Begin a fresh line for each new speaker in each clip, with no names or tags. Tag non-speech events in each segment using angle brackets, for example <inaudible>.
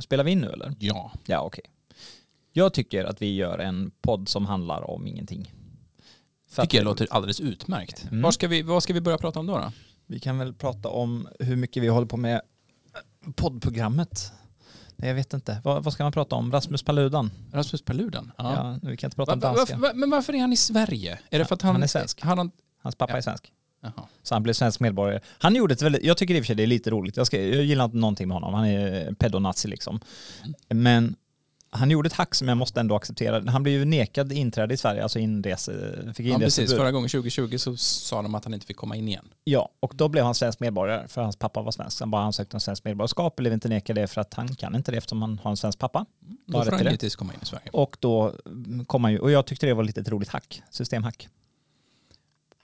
Spelar vi in nu eller?
Ja.
Ja, okej. Jag tycker att vi gör en podd som handlar om ingenting. För att-
Tycker jag låter alldeles utmärkt.
Mm.
Var ska vi, vad ska vi börja prata om då? då?
Vi kan väl prata om hur mycket vi håller på med poddprogrammet. Nej, jag vet inte. Vad, vad ska man prata om? Rasmus Paludan?
Rasmus Paludan?
Ja. vi kan inte prata
Va,
om
va,
danska.
varför, va, men varför är han i Sverige? Är det för att han,
han är svensk.
Han, han,
Hans pappa
Ja.
är svensk.
jaha.
Så han blev svensk medborgare. Han gjorde ett väldigt, jag tycker i och för sig det är lite roligt. Jag, ska, jag gillar inte någonting med honom. Han är en pedonazi liksom. Men han gjorde ett hack som jag måste ändå acceptera. Han blev ju nekad inträde i Sverige, alltså inrese, fick
ja,
inreseförbud.
precis. Förra gången 2020 så sa de att han inte fick komma in igen.
Ja, och då blev han svensk medborgare för hans pappa var svensk. Han bara ansökte om svenskt medborgarskap, blev inte nekad det för att han kan inte det eftersom han har en svensk pappa. Bara
Då får
till
han
det.
givetvis komma in i Sverige.
Och då mm, kom han ju, och jag tyckte det var lite ett roligt hack, systemhack.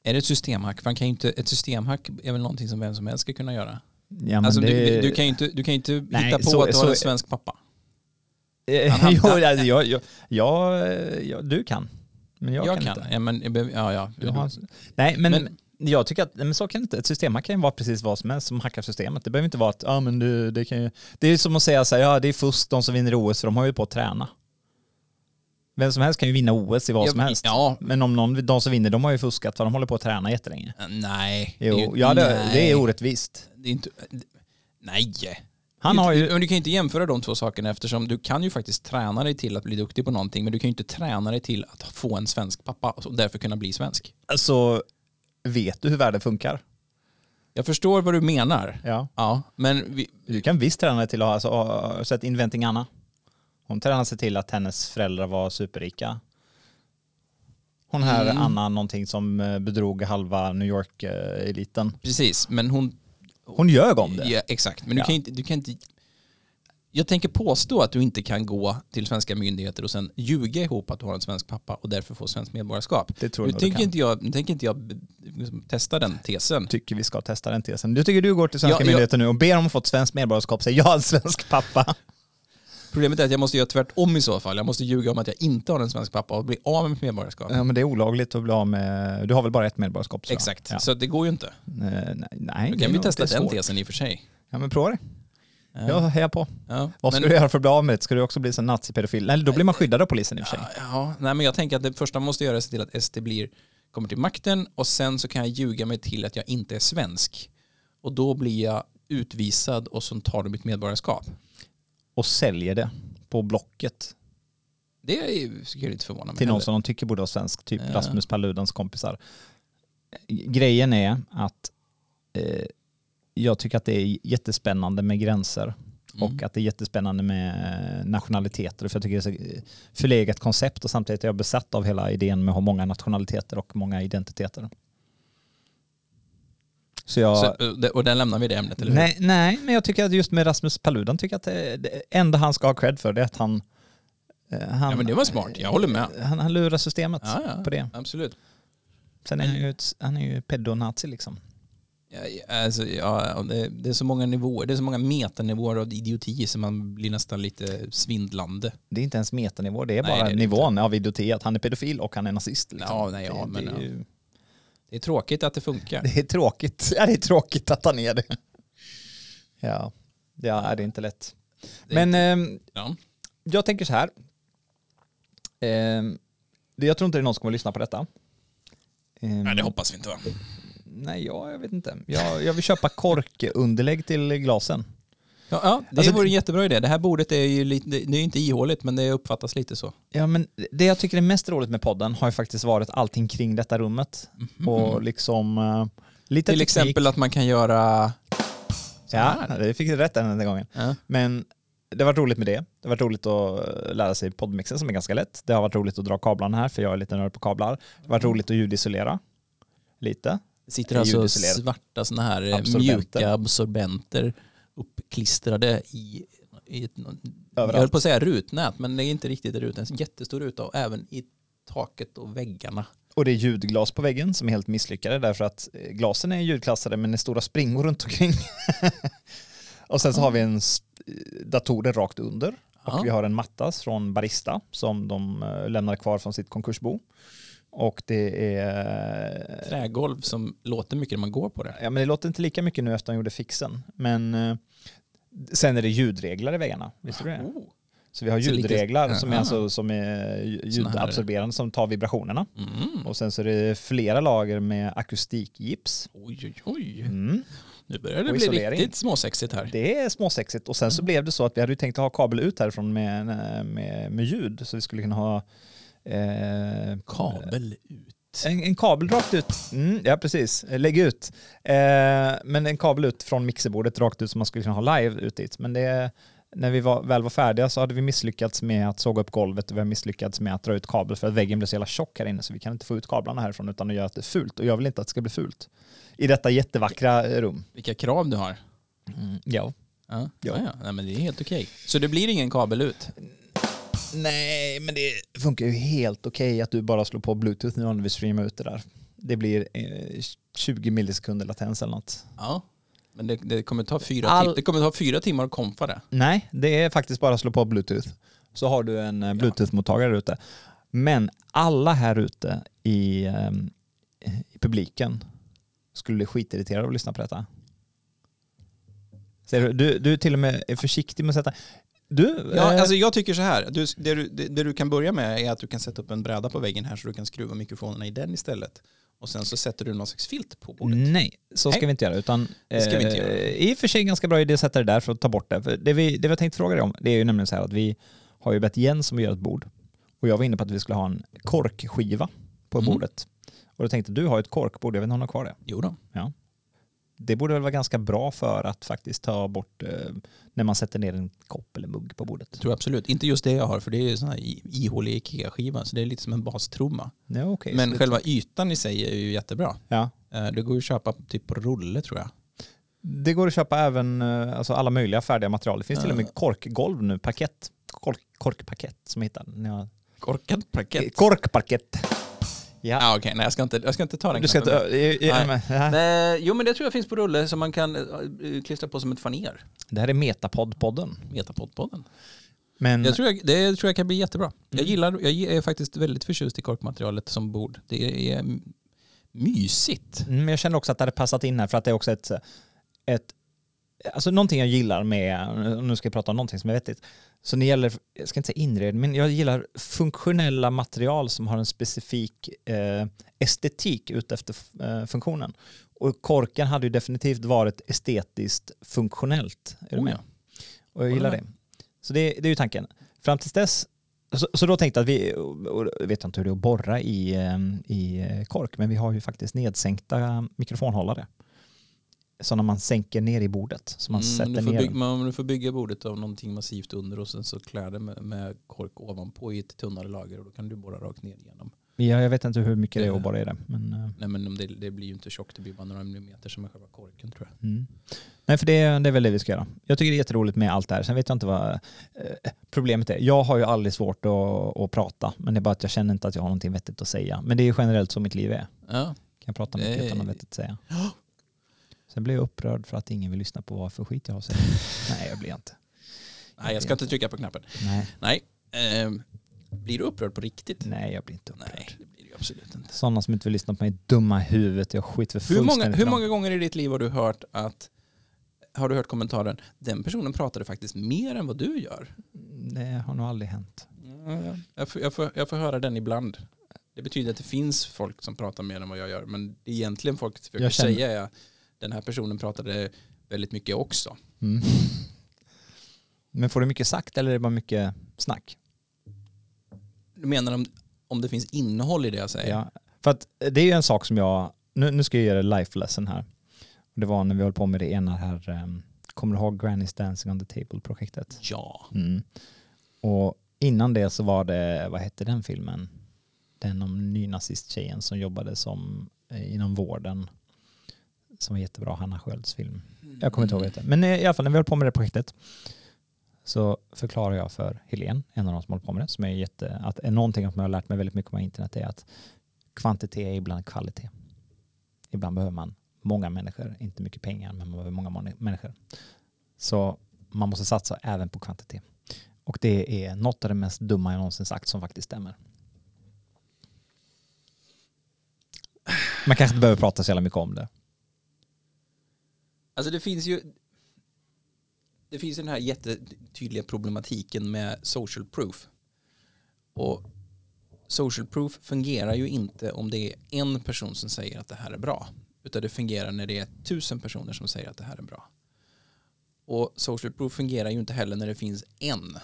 Är det ett systemhack? För han kan ju inte, ett systemhack är väl någonting som vem som helst ska kunna göra?
Ja, men
alltså,
det-
du, du kan ju inte, du kan ju inte
Nej,
hitta på
så-
att du har
så-
en svensk pappa.
Eh, <laughs>
Han-
jo, alltså, jag, jag, jag, eh, jag, du kan, men jag, kan, inte.
Ja, men, jag behöver- ja, ja.
Du har, nej, men,
Men-
jag tycker att nej, men så kan det inte, ett systemhack kan ju vara precis vad som helst som hackar systemet. Det behöver inte vara att, ja men du, det kan ju, det är som att säga så här, ja det är fusk de som vinner OS för de har ju på att träna. Vem som helst kan ju vinna OS i vad
Ja,
som helst.
Ja,
Men om någon, de som vinner, de har ju fuskat för de håller på att träna jättelänge.
nej. Det är
Jo,
ju-
ja, det,
nej.
det är orättvist.
Det är inte, nej.
Han har ju,
Men du kan ju inte jämföra de två sakerna eftersom du kan ju faktiskt träna dig till att bli duktig på någonting men du kan ju inte träna dig till att få en svensk pappa och därför kunna bli svensk.
alltså, vet du hur världen funkar?
Jag förstår vad du menar.
Ja.
Ja, men vi,
Du kan visst träna dig till att ha, alltså, har du sett Inventing Anna. Hon tränade sig till att hennes föräldrar var superrika. Hon här
Mm.
Anna någonting som eh, bedrog halva New York-eliten.
precis, men hon...
Hon ljög om det.
Ja, exakt, men du
Ja.
kan ju inte, du kan inte... Jag tänker påstå att du inte kan gå till svenska myndigheter och sen ljuga ihop att du har en svensk pappa och därför få svenskt medborgarskap.
Det tror
Nu
jag nog du
tänker
kan.
inte jag, nu tänker inte jag liksom, testa den tesen.
Tycker vi ska testa den tesen. Du tycker du går till svenska
Ja, jag-
myndigheter nu och ber om att få ett svenskt medborgarskap, säger jag <laughs> har en svensk pappa.
Problemet är att jag måste göra tvärtom i så fall. Jag måste ljuga om att jag inte har en svensk pappa och bli av med mitt medborgarskap.
Ja men det är olagligt att bli av med, du har väl bara ett medborgarskap? tror jag.
Exakt,
Ja.
så det går ju inte.
Eh, nej, nej,
Då
det är
kan vi
nog-
testa
det är
den
svårt.
tesen i och för sig.
Ja men prova det.
Ja.
Jag hejar på.
Ja,
Vad ska
men-
du göra för att bli av med det? Ska du också bli sån nazipedofil? Nej, då blir man skyddad av polisen i och för sig.
Ja, ja, nej men jag tänker att det första man måste göra är att se till att SD blir, kommer till makten och sen så kan jag ljuga mig till att jag inte är svensk. Och då blir jag utvisad och så tar de mitt medborgarskap.
Och säljer det på Blocket
Det är ju- skulle jag inte förvåna mig
till någon
heller.
som de tycker borde vara svensk, typ
Ja.
Rasmus Paludans kompisar. Grejen är att eh, jag tycker att det är jättespännande med gränser
Mm.
och att det är jättespännande med eh, nationaliteter för jag tycker det är ett förlegat koncept och samtidigt är jag besatt av hela idén med att ha många nationaliteter och många identiteter. Så jag...
Så, och det- och där lämnar vi det ämnet, eller hur?
Nej, nej, men jag tycker att just med Rasmus Paludan tycker jag att det, det enda han ska ha cred för det är att han... eh, han eh,
Ja, men det var smart, jag håller med.
han, han lurar systemet
Ja, ja.
på det.
Absolut.
Sen är han ju, ett, han är ju pedonazi liksom.
Ja, ja, Alltså, ja, ja, det, det är så många nivåer, det är så många metanivåer av idioti som man blir nästan lite svindlande.
Det är inte ens metanivå, det är
Nej,
bara
det är det
nivån av idioti att han är pedofil och han är nazist. Liksom.
Ja, nej, ja,
det,
men
det, är
ja.
ju,
Det är tråkigt att det <laughs>
<laughs>
funkar.
det är tråkigt. Ja, det är tråkigt att han är det. Ja, ja det är inte lätt.
Det är
men
inte-
ehm,
ja.
jag tänker så här. Ehm, det- jag tror inte det är någon som kommer lyssna på detta. Ehm,
Nej, det hoppas vi inte va?
Nej, ja, jag vet inte. Jag, jag vill köpa korkunderlägg till glasen.
Ja, ja det
Alltså,
vore en jättebra idé. Det här bordet är ju lite, det det är inte ihåligt men det uppfattas lite så.
Ja, men det jag tycker är mest roligt med podden har ju faktiskt varit allting kring detta rummet. Och liksom eh, lite
Mhm. Till
teknik.
exempel att man kan göra... så
Ja,
här.
det fick jag rätt den här gången.
Ja.
Men det har varit roligt med det. Det har varit roligt att lära sig poddmixen som är ganska lätt. Det har varit roligt att dra kablarna här för jag är lite nörd på kablar. Det har varit
Mm.
roligt att ljudisolera. Lite.
Det sitter alltså
Ljudisolerat.
svarta sådana här absorbenter.
Absorbenter.
mjuka absorbenter uppklistrade i, i ett, jag
Överallt.
höll på att säga rutnät men det är inte riktigt en ruta, en jättestor ruta och även i taket och väggarna.
Och det är ljudglas på väggen som är helt misslyckade därför att eh, glasen är ljudklassade men det är stora springor runt omkring. <laughs> och sen så
Ah.
har vi en s- eh, datorer rakt under. Och
Ja.
vi har en matta från Barista som de eh, lämnar kvar från sitt konkursbo. Och det är... eh,
Trägolv som låter mycket när man går på det.
Ja men det låter inte lika mycket nu efter att de gjorde fixen. Men eh, Sen är det ljudreglar i väggarna, visste du det?
Oh.
Så vi har
Så lite-
ljudreglar som, är
Ah.
alltså, som är
Såna här-
ljudabsorberande som tar vibrationerna.
Mm.
Och sen så är det flera lager med akustikgips.
Oj, oj, oj.
Mm.
Nu börjar det
Och
bli
isolering.
riktigt småsexigt här.
Det är småsexigt. Och sen så blev det så att vi hade ju tänkt att ha kabel ut härifrån med, med, med ljud. Så vi skulle kunna ha eh,
Kabel ut.
En, en kabel rakt ut. Mm, ja, precis. Lägg ut. Eh, men en kabel ut från mixerbordet rakt ut som man skulle kunna ha live ut dit. Men det, när vi var, väl var färdiga så hade vi misslyckats med att såga upp golvet och vi hade misslyckats med att dra ut kabel för att väggen blev så jävla tjock här inne så vi kan inte få ut kablarna härifrån utan att göra det fult. Och jag vill inte att det ska bli fult. I detta jättevackra eh, rum. Mm,
Vilka krav du har.
Ja.
Ja,
Ja.
ja. ja. Nej, men det är helt okej. Så det blir ingen kabel ut?
Nej, men det funkar ju helt okej att du bara slår på bluetooth nu när vi streamar ut det där. Det blir eh, 20 millisekunder latens eller något.
Ja. Men det, det, kommer ta fyra
All-
tim- det kommer ta fyra timmar att kompa det.
Nej, det är faktiskt bara att slå på bluetooth. Så har du en eh, bluetooth-mottagare ute. Men alla här ute i, ehm, i publiken skulle bli skitirriterade av att lyssna på detta. Ser du, du, du är till och med är försiktig med att sätta... Du,
Ja,
eh,
alltså jag tycker så här, du, det, du, det, det du kan börja med är att du kan sätta upp en bräda på väggen här så du kan skruva mikrofonerna i den istället. Och sen så sätter du någon slags filt på bordet.
Nej, så ska
Nej.
vi inte göra. Utan,
Det ska vi inte göra.
eh, I och för sig ganska bra idé att sätta det där för att ta bort det. För det, vi, det vi har tänkt fråga dig om, det är ju nämligen så här att vi har ju bett Jens som gör ett bord. Och jag var inne på att vi skulle ha en korkskiva på
Mm.
bordet. Och då tänkte jag, du har ju ett korkbord, jag vet inte om du har kvar det.
Jo då.
Det borde väl vara ganska bra för att faktiskt ta bort eh, när man sätter ner en kopp eller mugg på bordet.
Jag tror absolut. Inte just det jag har, för det är ju sån här i- ihålig IKEA-skiva, så det är lite som en bastrumma.
Ja, okej.
Men
Så-
själva ytan i sig är ju jättebra.
ja.
Eh, Det går ju att köpa typ på rulle tror jag.
Det går att köpa även eh, alltså alla möjliga färdiga material. Det finns till och med korkgolv nu, pakett. Kork, korkpaket som jag hittade när jag
Korkad parkett.
Korkparkett.
Ja, ah, okej, nej jag ska, inte, jag ska inte ta den.
Du ska inte... eh,
knappen.
ö- i- i-
Nej.
men- nej.
Nej, jo men det tror jag finns på rulle som man kan eh, klistra på som ett faner.
Det här är Metapod-podden.
Metapodpodden.
Men
Mm. Jag tror jag, det tror jag kan bli jättebra. Jag gillar, jag ge- är faktiskt väldigt förtjust i korkmaterialet som bord. Det är mm, mysigt.
Mm, men jag känner också att det hade passat in här för att det är också ett... ett alltså någonting jag gillar med, nu ska jag prata om någonting som är vettigt, så det gäller, jag ska inte säga inredning, men jag gillar funktionella material som har en specifik eh, estetik utefter eh, funktionen. Och korken hade ju definitivt varit estetiskt funktionellt. Är du
Oh
med?
ja.
Och jag gillar
Håller
det. Så det, det är ju tanken. Fram tills dess, så, så då tänkte jag att vi, och, och, jag vet inte hur det är att borra i, eh, i eh, kork, men vi har ju faktiskt nedsänkta mikrofonhållare. Sådana man sänker ner i bordet. Så man
Mm,
sätter
du, får
ner.
bygga,
den.
man, du får bygga bordet av någonting massivt under och sen så klär det med, med kork ovanpå i ett tunnare lager och då kan du borra rakt ner igenom.
Ja, jag vet inte hur mycket det är
Ja.
att borra i det. Men, eh,
Nej men om det, det blir ju inte tjockt, det blir bara några millimeter som är själva korken tror jag.
Mm. Nej, för det, det är väl det vi ska göra. Jag tycker det är jätteroligt med allt det här. Sen vet jag inte vad eh, problemet är. Jag har ju aldrig svårt att, att prata, men det är bara att jag känner inte att jag har någonting vettigt att säga. Men det är ju generellt så mitt liv är.
Ja.
Kan jag prata mycket
Nej.
utan att vettigt att säga.
<gasps>
Sen blir jag upprörd för att ingen vill lyssna på vad för skit jag har
<laughs>
sagt. Nej, jag blir inte.
Nej jag ska inte trycka på knappen.
Nej,
Nej. Ehm, blir du upprörd på riktigt?
nej jag blir inte upprörd.
Nej, det blir du absolut inte.
Sådana som inte vill lyssna på mig dumma i huvudet, jag skiter för
Hur många,
fullständigt i
hur
dem.
många gånger i ditt liv har du hört att har du hört kommentaren den personen pratade faktiskt mer än vad du gör?
Det har nog aldrig hänt.
Jag får, jag, får, jag får höra den ibland. Det betyder att det finns folk som pratar mer än vad jag gör men det egentligen folk försöker
Jag känner-
säga är den här personen pratade väldigt mycket också.
Mm. <laughs> Men får du mycket sagt eller är det bara mycket snack?
Du menar om, om det finns innehåll i det jag säger?
Ja, för att det är ju en sak som jag, nu, nu ska jag göra life lesson här. Det var när vi höll på med det ena här, ehm, kommer du ihåg Granny's Dancing on the Table-projektet?
Ja.
Mm. Och innan det så var det, vad hette den filmen? Den om nynazisttjejen som jobbade som, eh, inom vården. Som var jättebra, Hanna Skölds film. Jag kommer inte ihåg vad det hette. Men eh, i alla fall när vi höll på med det projektet så förklarar jag för Helene, en av de som håller på med det, som är jätte, att är någonting som jag har lärt mig väldigt mycket om internet är att kvantitet är ibland kvalitet. Ibland behöver man många människor, inte mycket pengar, men man behöver många mon- människor. Så man måste satsa även på kvantitet. Och det är något av det mest dumma jag någonsin sagt som faktiskt stämmer. Man kanske inte behöver prata så jävla mycket om det.
Alltså det finns ju det finns ju den här jättetydliga problematiken med social proof. Och social proof fungerar ju inte om det är en person som säger att det här är bra. Utan det fungerar när det är tusen personer som säger att det här är bra. Och social proof fungerar ju inte heller när det finns en.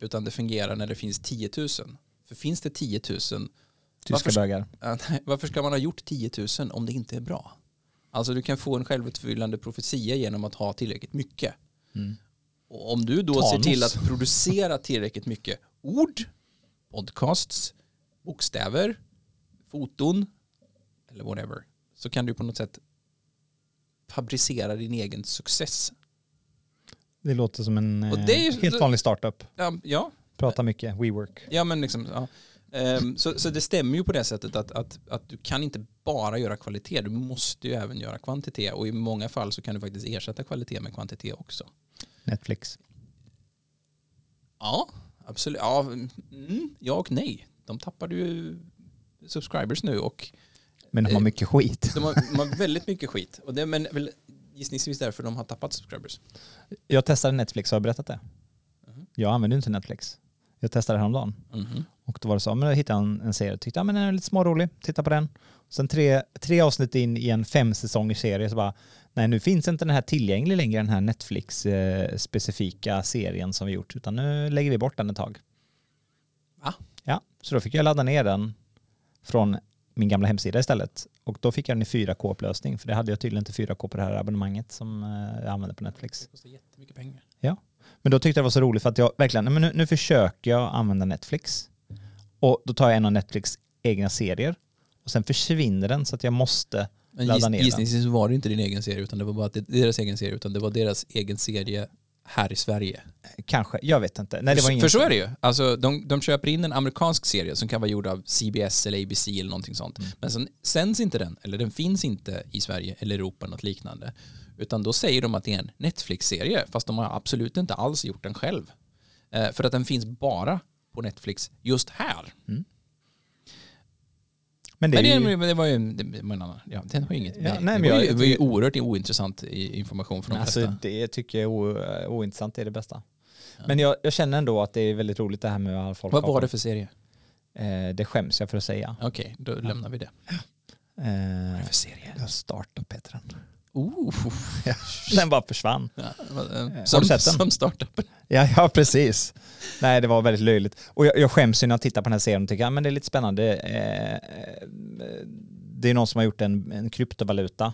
Utan det fungerar när det finns 10 000. För finns det 10 000
Tyska
Varför-
bögar.
Ja, nej, <laughs> Varför ska man ha gjort 10 000 om det inte är bra? Alltså du kan få en självuppfyllande profetia genom att ha tillräckligt mycket.
Mm.
Och om du då ser
Thanos.
till att producera tillräckligt mycket ord, podcasts, bokstäver, foton eller whatever så kan du på något sätt fabricera din egen success.
Det låter som en
Och
eh,
det är ju-
helt vanlig startup.
Ja, ja
Prata mycket, WeWork.
Ja men liksom, ja. Ehm, så, så det stämmer ju på det sättet att, att, att du kan inte bara göra kvalitet, du måste ju även göra kvantitet och i många fall så kan du faktiskt ersätta kvalitet med kvantitet också.
Netflix.
Ja, absolut. Ja, mm, ja och nej. De tappade ju subscribers nu och
Men de har
Eh,
mycket skit. <laughs>
de har, de har väldigt mycket skit. Och det, men väl gissningsvis därför de har tappat subscribers.
Jag testade Netflix, har jag berättat det?
Mhm.
Jag använder ju inte Netflix. Jag testade häromdagen.
Mhm.
Och då var det så, men jag hittade en, en serie och tyckte, ja men den är lite smårolig, titta på den. Sen tre, tre avsnitt in i en fem säsonger serie så bara, nej nu finns inte den här tillgänglig längre, den här Netflix-specifika serien som vi gjort, utan nu lägger vi bort den ett tag.
Va?
Ja, så då fick jag ladda ner den från min gamla hemsida istället. Och då fick jag den i 4K-upplösning, för det hade jag tydligen inte 4K på det här abonnemanget som eh, jag använde på Netflix.
Det kostar jättemycket pengar.
Men då tyckte jag det var så roligt för att jag verkligen, nej, men nu, nu försöker jag använda Netflix. Och då tar jag en av Netflix egna serier och sen försvinner den så att jag måste, eh,
Men
Ladda
giss,
ner den.
gissningsvis var det inte din egen serie utan det var bara att det, deras egen serie utan det var deras egen serie här i Sverige.
kanske, jag vet inte. Nej, det var
för,
ingen...
för så är det ju. Alltså, de, de köper in en amerikansk serie som kan vara gjord av CBS eller ABC eller någonting sånt.
Mm.
Men sen sänds inte den, eller den finns inte i Sverige eller Europa något liknande. Utan då säger de att det är en Netflix-serie, fast de har absolut inte alls gjort den själv. Eh, för att den finns bara på Netflix just här.
Men det är ju...
men det, men det var ju en- det var en annan, ja, den har ju inget,
Ja,
nej,
nej, men
det, var
jag-
ju, det
jag
var ju
tycker-
oerhört ointressant i- information för de
Men alltså,
flesta.
det tycker jag är o, eh, ointressant, det är det bästa. Men jag, jag känner ändå att det är väldigt roligt det här med all folk
Vad var det för serie?
Eh, det skäms jag för att säga.
Okej, då lämnar vi det. Vad är
Eh,
det för serie?
startup heter den.
<laughs> Oh.
Den bara försvann.
Ja, vad- eh,
du
som,
sett den?
som startup.
Ja, <laughs> ja, precis. Nej, det var väldigt löjligt. Och jag, jag skäms ju när jag tittar på den här serien och tycker att men det är lite spännande. Eh, eh, det är någon som har gjort en, en kryptovaluta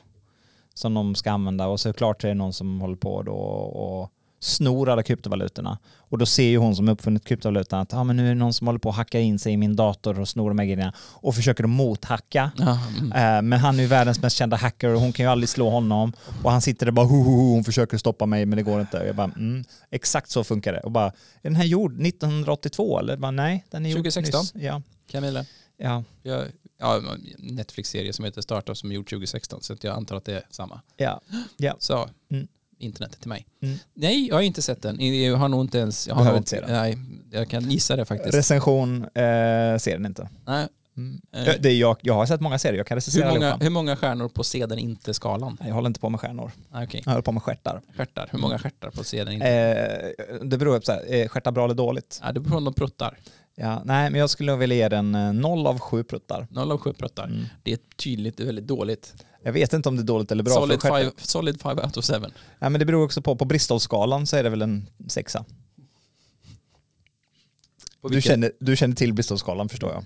som de ska använda och såklart är det någon som håller på då och snor alla kryptovalutorna. Och då ser ju hon som uppfunnit kryptovalutan att ah, men nu är det någon som håller på att hacka in sig i min dator och snor de här grejerna och försöker att mothacka.
Mm.
Eh, Men han är ju världens mest kända hacker och hon kan ju aldrig slå honom. Och han sitter där bara ho, ho, ho, hon försöker stoppa mig men det går inte. Och jag bara, mm, exakt så funkar det. Och bara, är den här gjord 1982 eller? Bara, Nej, den är gjord
2016.
nyss. Ja,
Camilla,
ja,
jag, ja, Netflix-serie som heter Startup som är gjord 2016 så att jag antar att det är samma.
ja.
Så,
Mm.
internet till mig.
Mm.
Nej, jag har inte sett den. Jag har nog inte ens... Jag har
Behöver
nog,
inte se den.
Nej, jag kan gissa det faktiskt.
Recension eh, ser den inte.
nej, eh,
Ja, Det är Mm. jag, jag har sett många serier, jag kan recensera
hur, många,
allihopa.
hur många stjärnor på se den inte-skalan?
Nej, Jag håller inte på med stjärnor,
Ah, Okej,
jag håller på med stjärtar.
stjärtar. Hur många stjärtar på se den inte?
Eh, det beror ju på så här, är stjärtar bra eller dåligt?
Ja, det beror på om de pruttar.
Ja, nej, men jag skulle nog vilja ge den eh, noll av sju pruttar.
Noll av sju pruttar.
Mm.
Det är tydligt det är väldigt dåligt.
Jag vet inte om det är dåligt eller bra. för
solid,
stjärtar-
five, solid five out of seven.
Ja, men det beror också på. På Bristolskalan så är det väl en sexa.
På
Du
vilken-
känner, du känner till Bristolskalan förstår jag.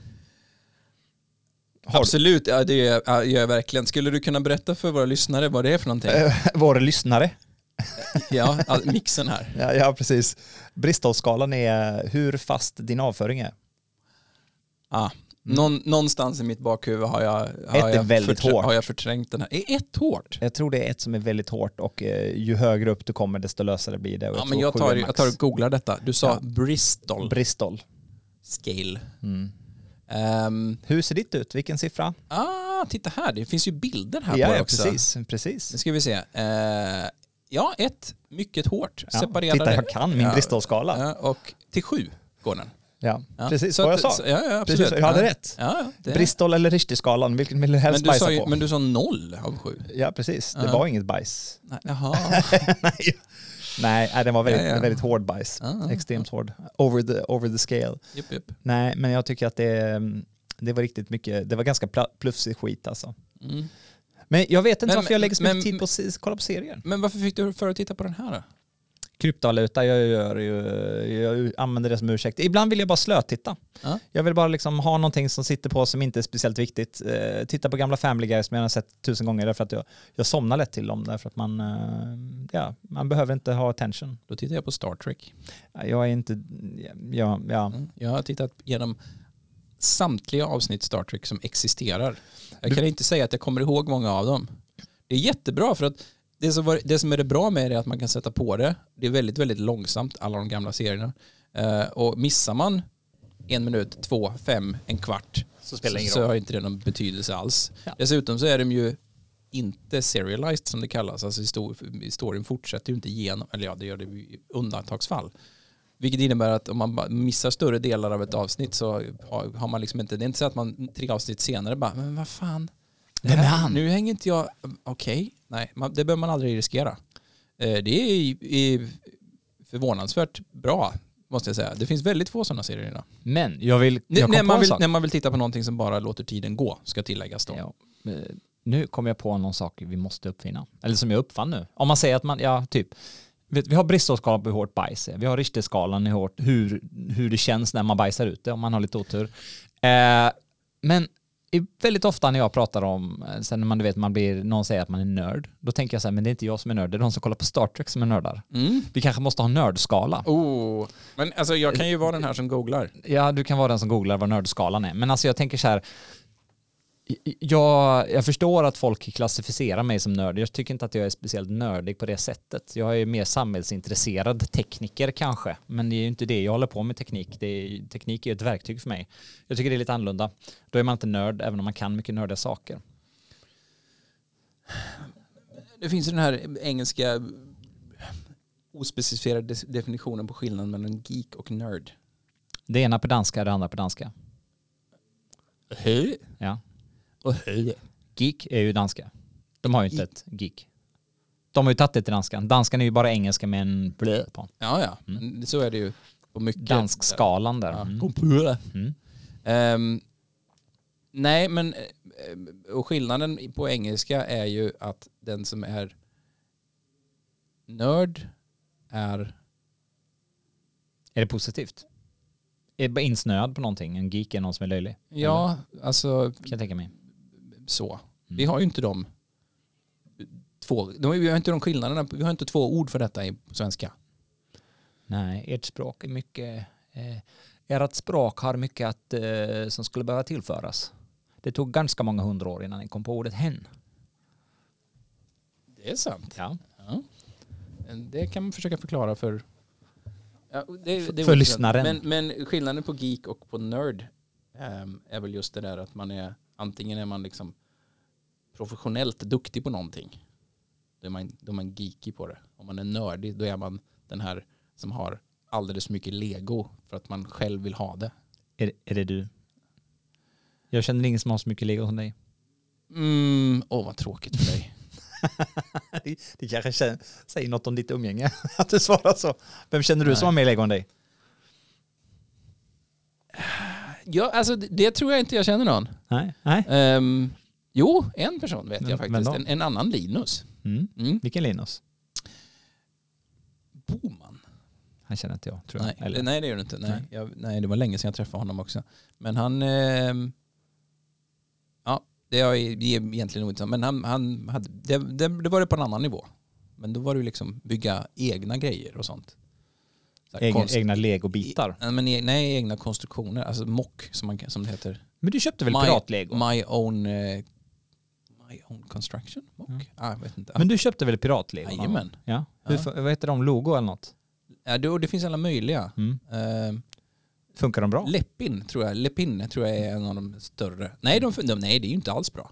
Har du-
Absolut, ja, det gör jag- ja, gör jag verkligen. Skulle du kunna berätta för våra lyssnare vad det är för någonting?
Eh. Våra lyssnare.
ja, all- mixen här.
Ja, ja, precis. Bristolskalan är hur fast din avföring är.
Ah. Någon, någonstans i mitt bakhuvud har jag, har,
Mm. Ett är
jag
väldigt hårt.
har jag förträngt den här. Är ett hårt?
Jag tror det är ett som är väldigt hårt och eh, ju högre upp du kommer desto lösare blir det. Och
Ja,
tror
men jag
sju
tar,
är max.
jag tar och googlar detta. Du sa
Ja.
Bristol
Bristol.
scale.
Mm.
Ehm,
Hur ser ditt ut? Vilken siffra?
ah, titta här, det finns ju bilder här
ja,
på det
ja,
också.
precis.
Nu
precis.
ska vi se. Eh, ja, ett, mycket hårt.
Ja,
Separerade.
titta, jag kan min
Ja.
Bristolskala. Ja,
Ja, och till sju går den. Ja.
precis
Så
vad jag
att-
sa.
så- ja, ja, absolut.
precis, jag hade
ja.
rätt.
Ja, ja, det-
Bristol eller Richterskalan, vilken vill du helst
men du,
bajsa
sa ju,
på?
men du sa noll av sju.
Ja, precis. Det
Ja.
<laughs> var inget bajs.
Nej, Jaha.
Nej, Nej, nej, den var väldigt,
Ja, ja.
väldigt hård bajs.
Ah,
Extremt hård. Over the, over the scale.
Jupp, jupp.
Nej, men jag tycker att det, mm, det var riktigt mycket, det var ganska pla- plufsig skit alltså.
Mm.
Men jag vet inte
Men-
varför jag lägger så mycket
men-
tid på att se- kolla på serier.
Men varför fick du för att titta på den här då?
Kryptovaluta, jag, gör, ju- jag använder det som ursäkt. Ibland vill jag bara slötitta.
Ja.
Jag vill bara liksom ha någonting som sitter på som inte är speciellt viktigt. Eh, titta på gamla Family Guy som jag har sett tusen gånger därför att jag, jag somnar lätt till dem därför att man, eh, ja, man behöver inte ha attention.
Då tittar jag på Star Trek.
Jag är inte, ja, ja.
Mm. Jag har tittat genom samtliga avsnitt Star Trek som existerar. Jag kan inte säga att jag kommer ihåg många av dem. Det är jättebra för att det som, var, det som är det bra med det är att man kan sätta på det. Det är väldigt, väldigt långsamt, alla de gamla serierna. Eh, och missar man en minut, två, fem, en kvart
Så
så, så har inte det någon betydelse alls.
Ja.
Dessutom så är de ju inte serialized som det kallas. Alltså histo- storyn fortsätter ju inte genom, eller ja det gör det i undantagsfall. Vilket innebär att om man ba- missar större delar av ett avsnitt så har har man liksom inte, det är inte så att man tre avsnitt senare bara, men vad fan, det
Vem är
här-
han?"
nu hänger inte jag, okej, nej, man, det behöver man aldrig riskera. Eh, Det är, ju- är förvånansvärt bra, måste jag säga. Det finns väldigt få sådana serier idag.
Men jag vill,
N-
jag kom
när,
på
man
en
vill,
sak.
när man vill titta på någonting som bara låter tiden gå, ska tilläggas då.
Ja. Eh, Nu kom jag på någon sak vi måste uppfinna. Eller som jag uppfann nu. Om man säger att man, ja typ, vet, vi har Bristolskalan på hur hårt bajs är. Vi har Richterskalan i hårt, hur, hur det känns när man bajsar ut det om man har lite otur. Eh, men i- väldigt ofta när jag pratar om, eh, sen när man du vet, man blir, någon säger att man är nörd, då tänker jag så här, men det är inte jag som är nörd, det är de som kollar på Star Trek som är nördar.
Mm.
Vi kanske måste ha nördskala.
Oh. Men alltså, jag kan ju vara den här som googlar.
Ja, du kan vara den som googlar vad nördskalan är. Men alltså jag tänker så här, j- jag, jag förstår att folk klassificerar mig som nörd. Jag tycker inte att jag är speciellt nördig på det sättet. Jag är mer samhällsintresserad tekniker kanske, men det är ju inte det jag håller på med teknik. Det är, teknik är ju ett verktyg för mig. Jag tycker det är lite annorlunda. Då är man inte nörd, även om man kan mycket nördiga saker.
Det finns ju den här engelska ospecificerade des- definitionen på skillnaden mellan geek och nerd.
Det ena på danska, det andra på danska.
Hej.
Ja.
Och hej.
Geek är ju danska. De har ju inte
Geek.
ett geek. De har ju tagit det till danskan. Danskan är ju bara engelska med en blö på.
Ja, ja. Men Så är det ju på mycket.
Danskskalan där.
Ja.
Mm.
Computer.
Mm.
Ehm, nej, men eh, och skillnaden i- på engelska är ju att den som är nörd är
Är det positivt? Är det bara insnöad på någonting? En geek är någon som är löjlig?
Ja, Mm. alltså
Kan jag tänka mig.
så. Vi har ju inte de två, de, vi har inte de skillnaderna, vi har inte två ord för detta i på svenska.
Nej, ert språk är mycket... Eh, ert språk har mycket att, eh, som skulle behöva tillföras. Det tog ganska många hundra år innan ni kom på ordet hen.
Det är sant.
Ja.
Ja. Det kan man försöka förklara för ja, det, det är
För- för
ointressant.
lyssnaren.
Men, men skillnaden på geek och på nörd ehm, är väl just det där att man är antingen är man liksom professionellt duktig på någonting. Då är man, då är man geeky på det. Om man är nördig då är man den här som har alldeles för mycket lego för att man själv vill ha det.
Är, är det du? Jag känner ingen som har så mycket lego som <laughs> dig.
Mm, åh vad tråkigt för dig.
Det, det kanske känner, säger något om ditt umgänge, <laughs> att du svarar så. Vem känner du
Nej.
som har mer lego än dig?
Ja, alltså det, det tror jag inte jag känner någon.
Nej. Nej.
Ehm, jo, en person vet
Men-
jag
men
faktiskt.
då?
En, en annan Linus.
Mm.
Mm.
Vilken Linus?
Boman?
Han känner inte jag, tror jag.
Nej, det- nej det gör du inte. Nej. Jag, nej, det var länge sedan jag träffade honom också. Men han... ehm, ja, det är det är egentligen inte Men han, han hade, det, det, det var det på en annan nivå. Men då var det ju liksom bygga egna grejer och sånt. Så här
Egna,
konst-
egna legobitar.
Nej, men, e- nej, egna konstruktioner. Alltså mock som, man, kan- som det heter.
Men du köpte väl piratlego?
My own, eh, my own construction? Mock? Ah, jag vet inte.
Mm. Men du köpte väl piratlego? någon gång?
Jajamän.
Ja. Hur,
Ja.
fu- Vad heter de? Logo eller något?
Ja, det, och det finns alla möjliga.
Mm.
Eh,
Funkar de bra?
Leppin tror jag. Leppin tror jag är en av de större. Nej, de, de, nej det är ju inte alls bra.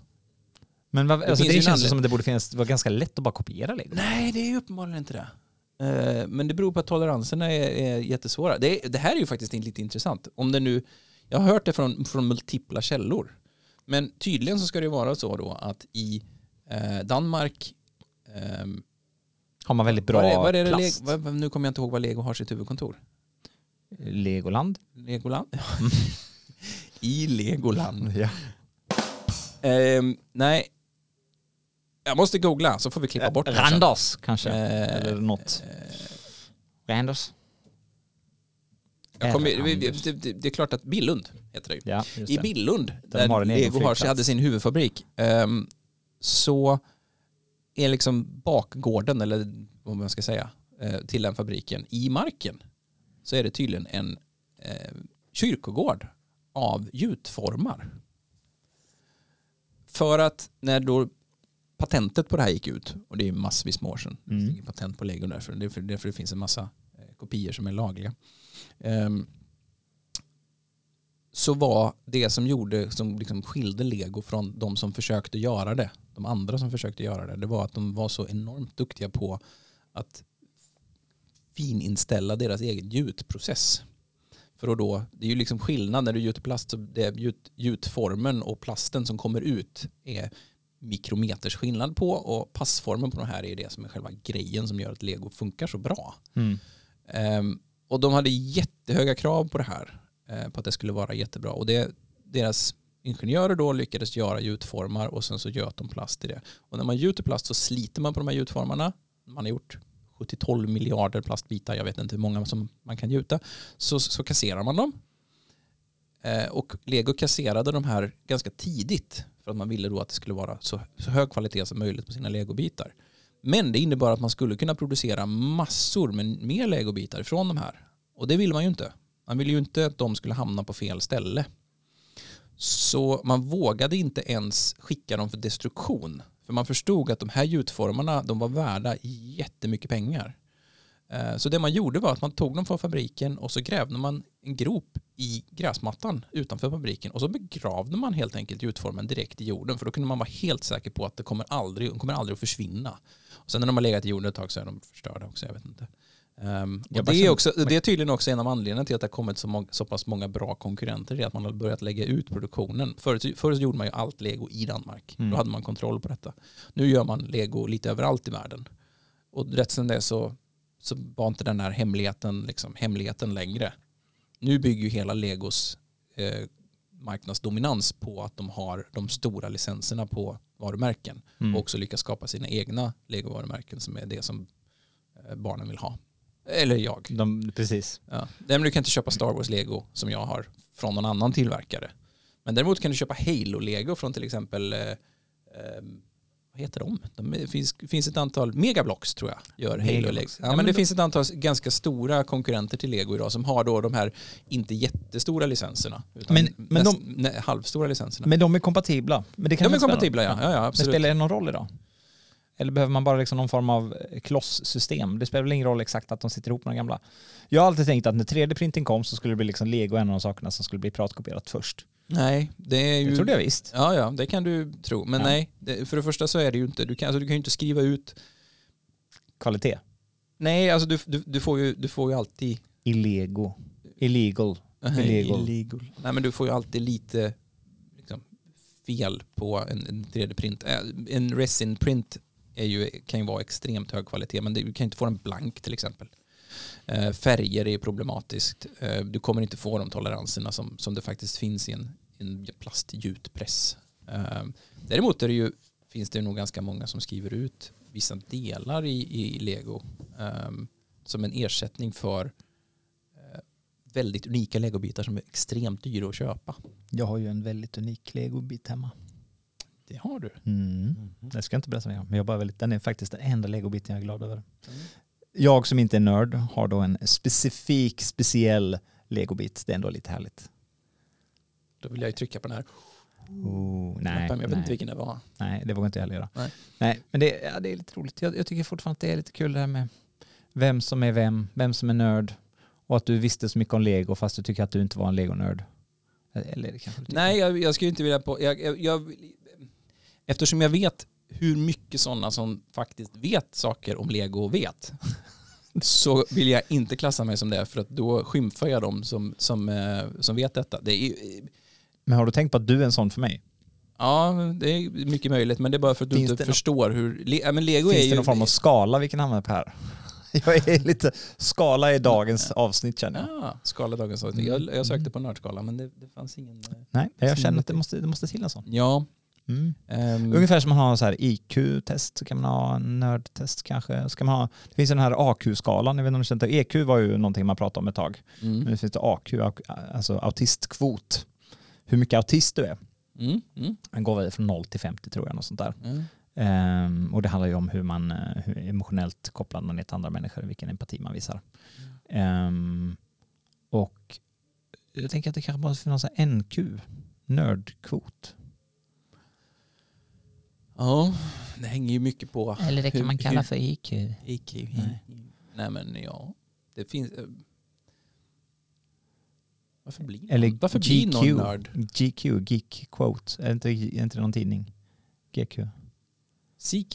Men vad, alltså,
finns ju
det
en
känns
anledning.
som att det borde finnas, det var ganska lätt att bara kopiera lego.
Nej, det är ju uppenbarligen inte det. Eh, men det beror på att toleranserna är, är jättesvåra. Det, är- det här är ju faktiskt in- lite intressant. Om det nu, jag har hört det från, från multipla källor. Men tydligen så ska det vara så då att i eh, Danmark ehm,
har man väldigt bra
Var eh, är, var är det
plast.
Lego, vad- vad- nu kommer jag inte ihåg var Lego har sitt huvudkontor.
Legoland. <laughs>
Legoland? I Legoland.
Ja.
Ehm, nej. Jag måste googla så får vi
Eh,
klippa bort det sen.
Randos kanske.
Eh,
Eller något. Randos.
Jag kommer, det,
Randos.
det, det, det är klart att Billund heter det ju.
Ja, just
I
det.
Billund,
de
där
har en egen
Lego Harsi
flygplats.
hade sin huvudfabrik, ehm, så är liksom bakgården, eller vad man ska säga, eh, till den fabriken i marken så är det tydligen en eh, kyrkogård av gjutformar. För att när då patentet på det här gick ut, och det är massvis med år sedan, det finns
Mm.
inget patent på Lego därför, det är för, därför det finns en massa eh, kopior som är lagliga. Ehm, så var det som gjorde, som liksom skilde Lego från de som försökte göra det, de andra som försökte göra det, det var att de var så enormt duktiga på att fininställa deras egen gjutprocess. För då, då, det är ju liksom skillnad när du gjuter plast, så det är gjut, gjutformen och plasten som kommer ut är mikrometers skillnad på och passformen på de här är det som är själva grejen som gör att Lego funkar så bra.
Mm.
Ehm, och de hade jättehöga krav på det här, eh, på att det skulle vara jättebra. Och det, deras ingenjörer då lyckades göra gjutformar och sen så göt de plast i det. Och när man gjuter plast så sliter man på de här gjutformarna. Man har gjort 70-12 miljarder plastbitar, jag vet inte hur många som man kan gjuta. Så, så kasserar man dem. Eh, och Lego kasserade de här ganska tidigt för att man ville då att det skulle vara så, så hög kvalitet som möjligt på sina legobitar. Men det innebar att man skulle kunna producera massor med mer legobitar från de här. Och det vill man ju inte. Man ville ju inte att de skulle hamna på fel ställe. Så man vågade inte ens skicka dem för destruktion. För man förstod att de här gjutformarna de var värda jättemycket pengar. Eh, Så det man gjorde var att man tog dem från fabriken och så grävde man en grop i gräsmattan utanför fabriken och så begravde man helt enkelt gjutformen direkt i jorden för då kunde man vara helt säker på att det kommer aldrig, de kommer aldrig att försvinna. Och sen när de har legat i jorden ett tag så är de förstörda också, jag vet inte. Ehm,
Jag
och
bara
det, är
känner-
också, det är tydligen också en av anledningarna till att det har kommit så, många, så pass många bra konkurrenter, det är att man har börjat lägga ut produktionen. Förut, förut så gjorde man ju allt lego i Danmark,
Mm.
då hade man kontroll på detta. Nu gör man lego lite överallt i världen. Och rätt sen det så, så var inte den här hemligheten, liksom, hemligheten längre. Nu bygger ju hela Legos eh, marknadsdominans på att de har de stora licenserna på varumärken
Mm.
och också lyckas skapa sina egna Lego-varumärken som är det som eh, barnen vill ha. Eller jag.
De, precis.
Ja. Nej, men du kan inte köpa Star Wars-lego som jag har från någon annan tillverkare. Men däremot kan du köpa Halo-lego från till exempel, eh, eh, vad heter de? de är, finns, finns ett antal, Megablocks tror jag, gör Halo-lego.
Megablox.
Ja,
Ja,
men
men
det
då-
finns ett antal ganska stora konkurrenter till lego idag som har då de här inte jättestora licenserna. Utan
Men- men
näst, nä, halvstora licenserna.
Men de är kompatibla. Men det kan
de är
väl spela
kompatibla,
någon-
ja. ja, ja
Men
absolut.
spelar det någon roll idag? Eller behöver man bara liksom någon form av kloss-system? Det spelar väl ingen roll exakt att de sitter ihop med de gamla. Jag har alltid tänkt att när 3D-printing kom så skulle det bli liksom lego en av de sakerna som skulle bli piratkopierat först.
Nej, det är ju...
Det trodde jag visst.
Ja, ja, det kan du tro. Men
Ja.
nej, det, för det första så är det ju inte, du kan, alltså, du kan ju inte skriva ut
Kvalitet.
Nej, alltså du, du, du, får, ju, du får ju alltid...
Illego. Illegal. Illegal.
Nej, men du får ju alltid lite liksom, fel på en, en 3D-print. Eh, En resin-print är ju, kan ju vara extremt hög kvalitet, men det- du kan inte få den blank till exempel. Eh, färger är problematiskt. Eh, du kommer inte få de toleranserna som, som det faktiskt finns i en, i en plastgjutpress. Eh, däremot är det ju, finns det ju nog ganska många som skriver ut vissa delar i, i Lego eh, som en ersättning för eh, väldigt unika legobitar som är extremt dyra att köpa.
Jag har ju en väldigt unik legobit hemma.
Det har du.
Mm.
Mhm.
Det ska jag inte berätta mer om. Men jag bara väldigt, den är faktiskt den enda legobiten jag är glad över.
Mm.
Jag som inte är nörd har då en specifik, speciell legobit. Det är ändå lite härligt.
Då vill jag ju trycka på den här
Oh, nej,
knappen, men jag vet
nej.
inte vilken det var.
Nej, det vågar inte jag heller göra.
Nej.
Nej, men det, ja, det är lite roligt. Jag, jag tycker fortfarande att det är lite kul det här med vem som är vem, vem som är nörd och att du visste så mycket om lego fast du tycker att du inte var en legonörd. Eller det kanske du tycker.
Nej, jag, jag skulle inte vilja på... Jag, jag, jag, eftersom jag vet hur mycket sådana som faktiskt vet saker om
<laughs>
lego vet så vill jag inte klassa mig som det för att då skymfar jag dem som, som, eh, som vet detta. Det är, ju-
Men har du tänkt på att du är en sån för mig?
Ja, det är mycket möjligt, men det är bara för att du
Finns
inte
det nå-
förstår hur... Le, ja, men Lego är
Finns
ju...
det någon form av skala vi kan använda på det här? <laughs> Jag är lite... Skala är dagens avsnitt känner jag.
Ja, skala dagens avsnitt.
Mm.
Jag, jag sökte på nördskala, men det, det fanns ingen... eh,
Nej, jag känner att det måste, det måste till en sån.
Ja.
Mm.
ehm,
Ungefär som man har så här IQ-test så kan man ha en nördtest kanske. Ska man ha, det finns ju den här AQ-skalan, jag vet inte om du känner till EQ var ju någonting man pratade om ett tag. Men
mm,
nu finns det AQ, alltså autistkvot. Hur mycket autist du är.
mm, mm,
Den går väl från 0 till 50 tror jag, något sånt där.
mm.
Ehm, och det handlar ju om hur, man, eh, hur emotionellt kopplad man är till andra människor, vilken empati man visar. Ehm, och jag tänker att det kanske bara finns en NQ, nördkvot.
Ja, det hänger ju mycket på
Eller det
kan Ah, Hur- man kalla hur-
för IQ.
IQ.
Nej.
Nej, men ja. Det finns... eh, Varför blir någon,
Eller
varför
GQ.
blir någon nörd?
GQ, Geek Quote. Är det inte, är det inte någon tidning? GQ?
CQ?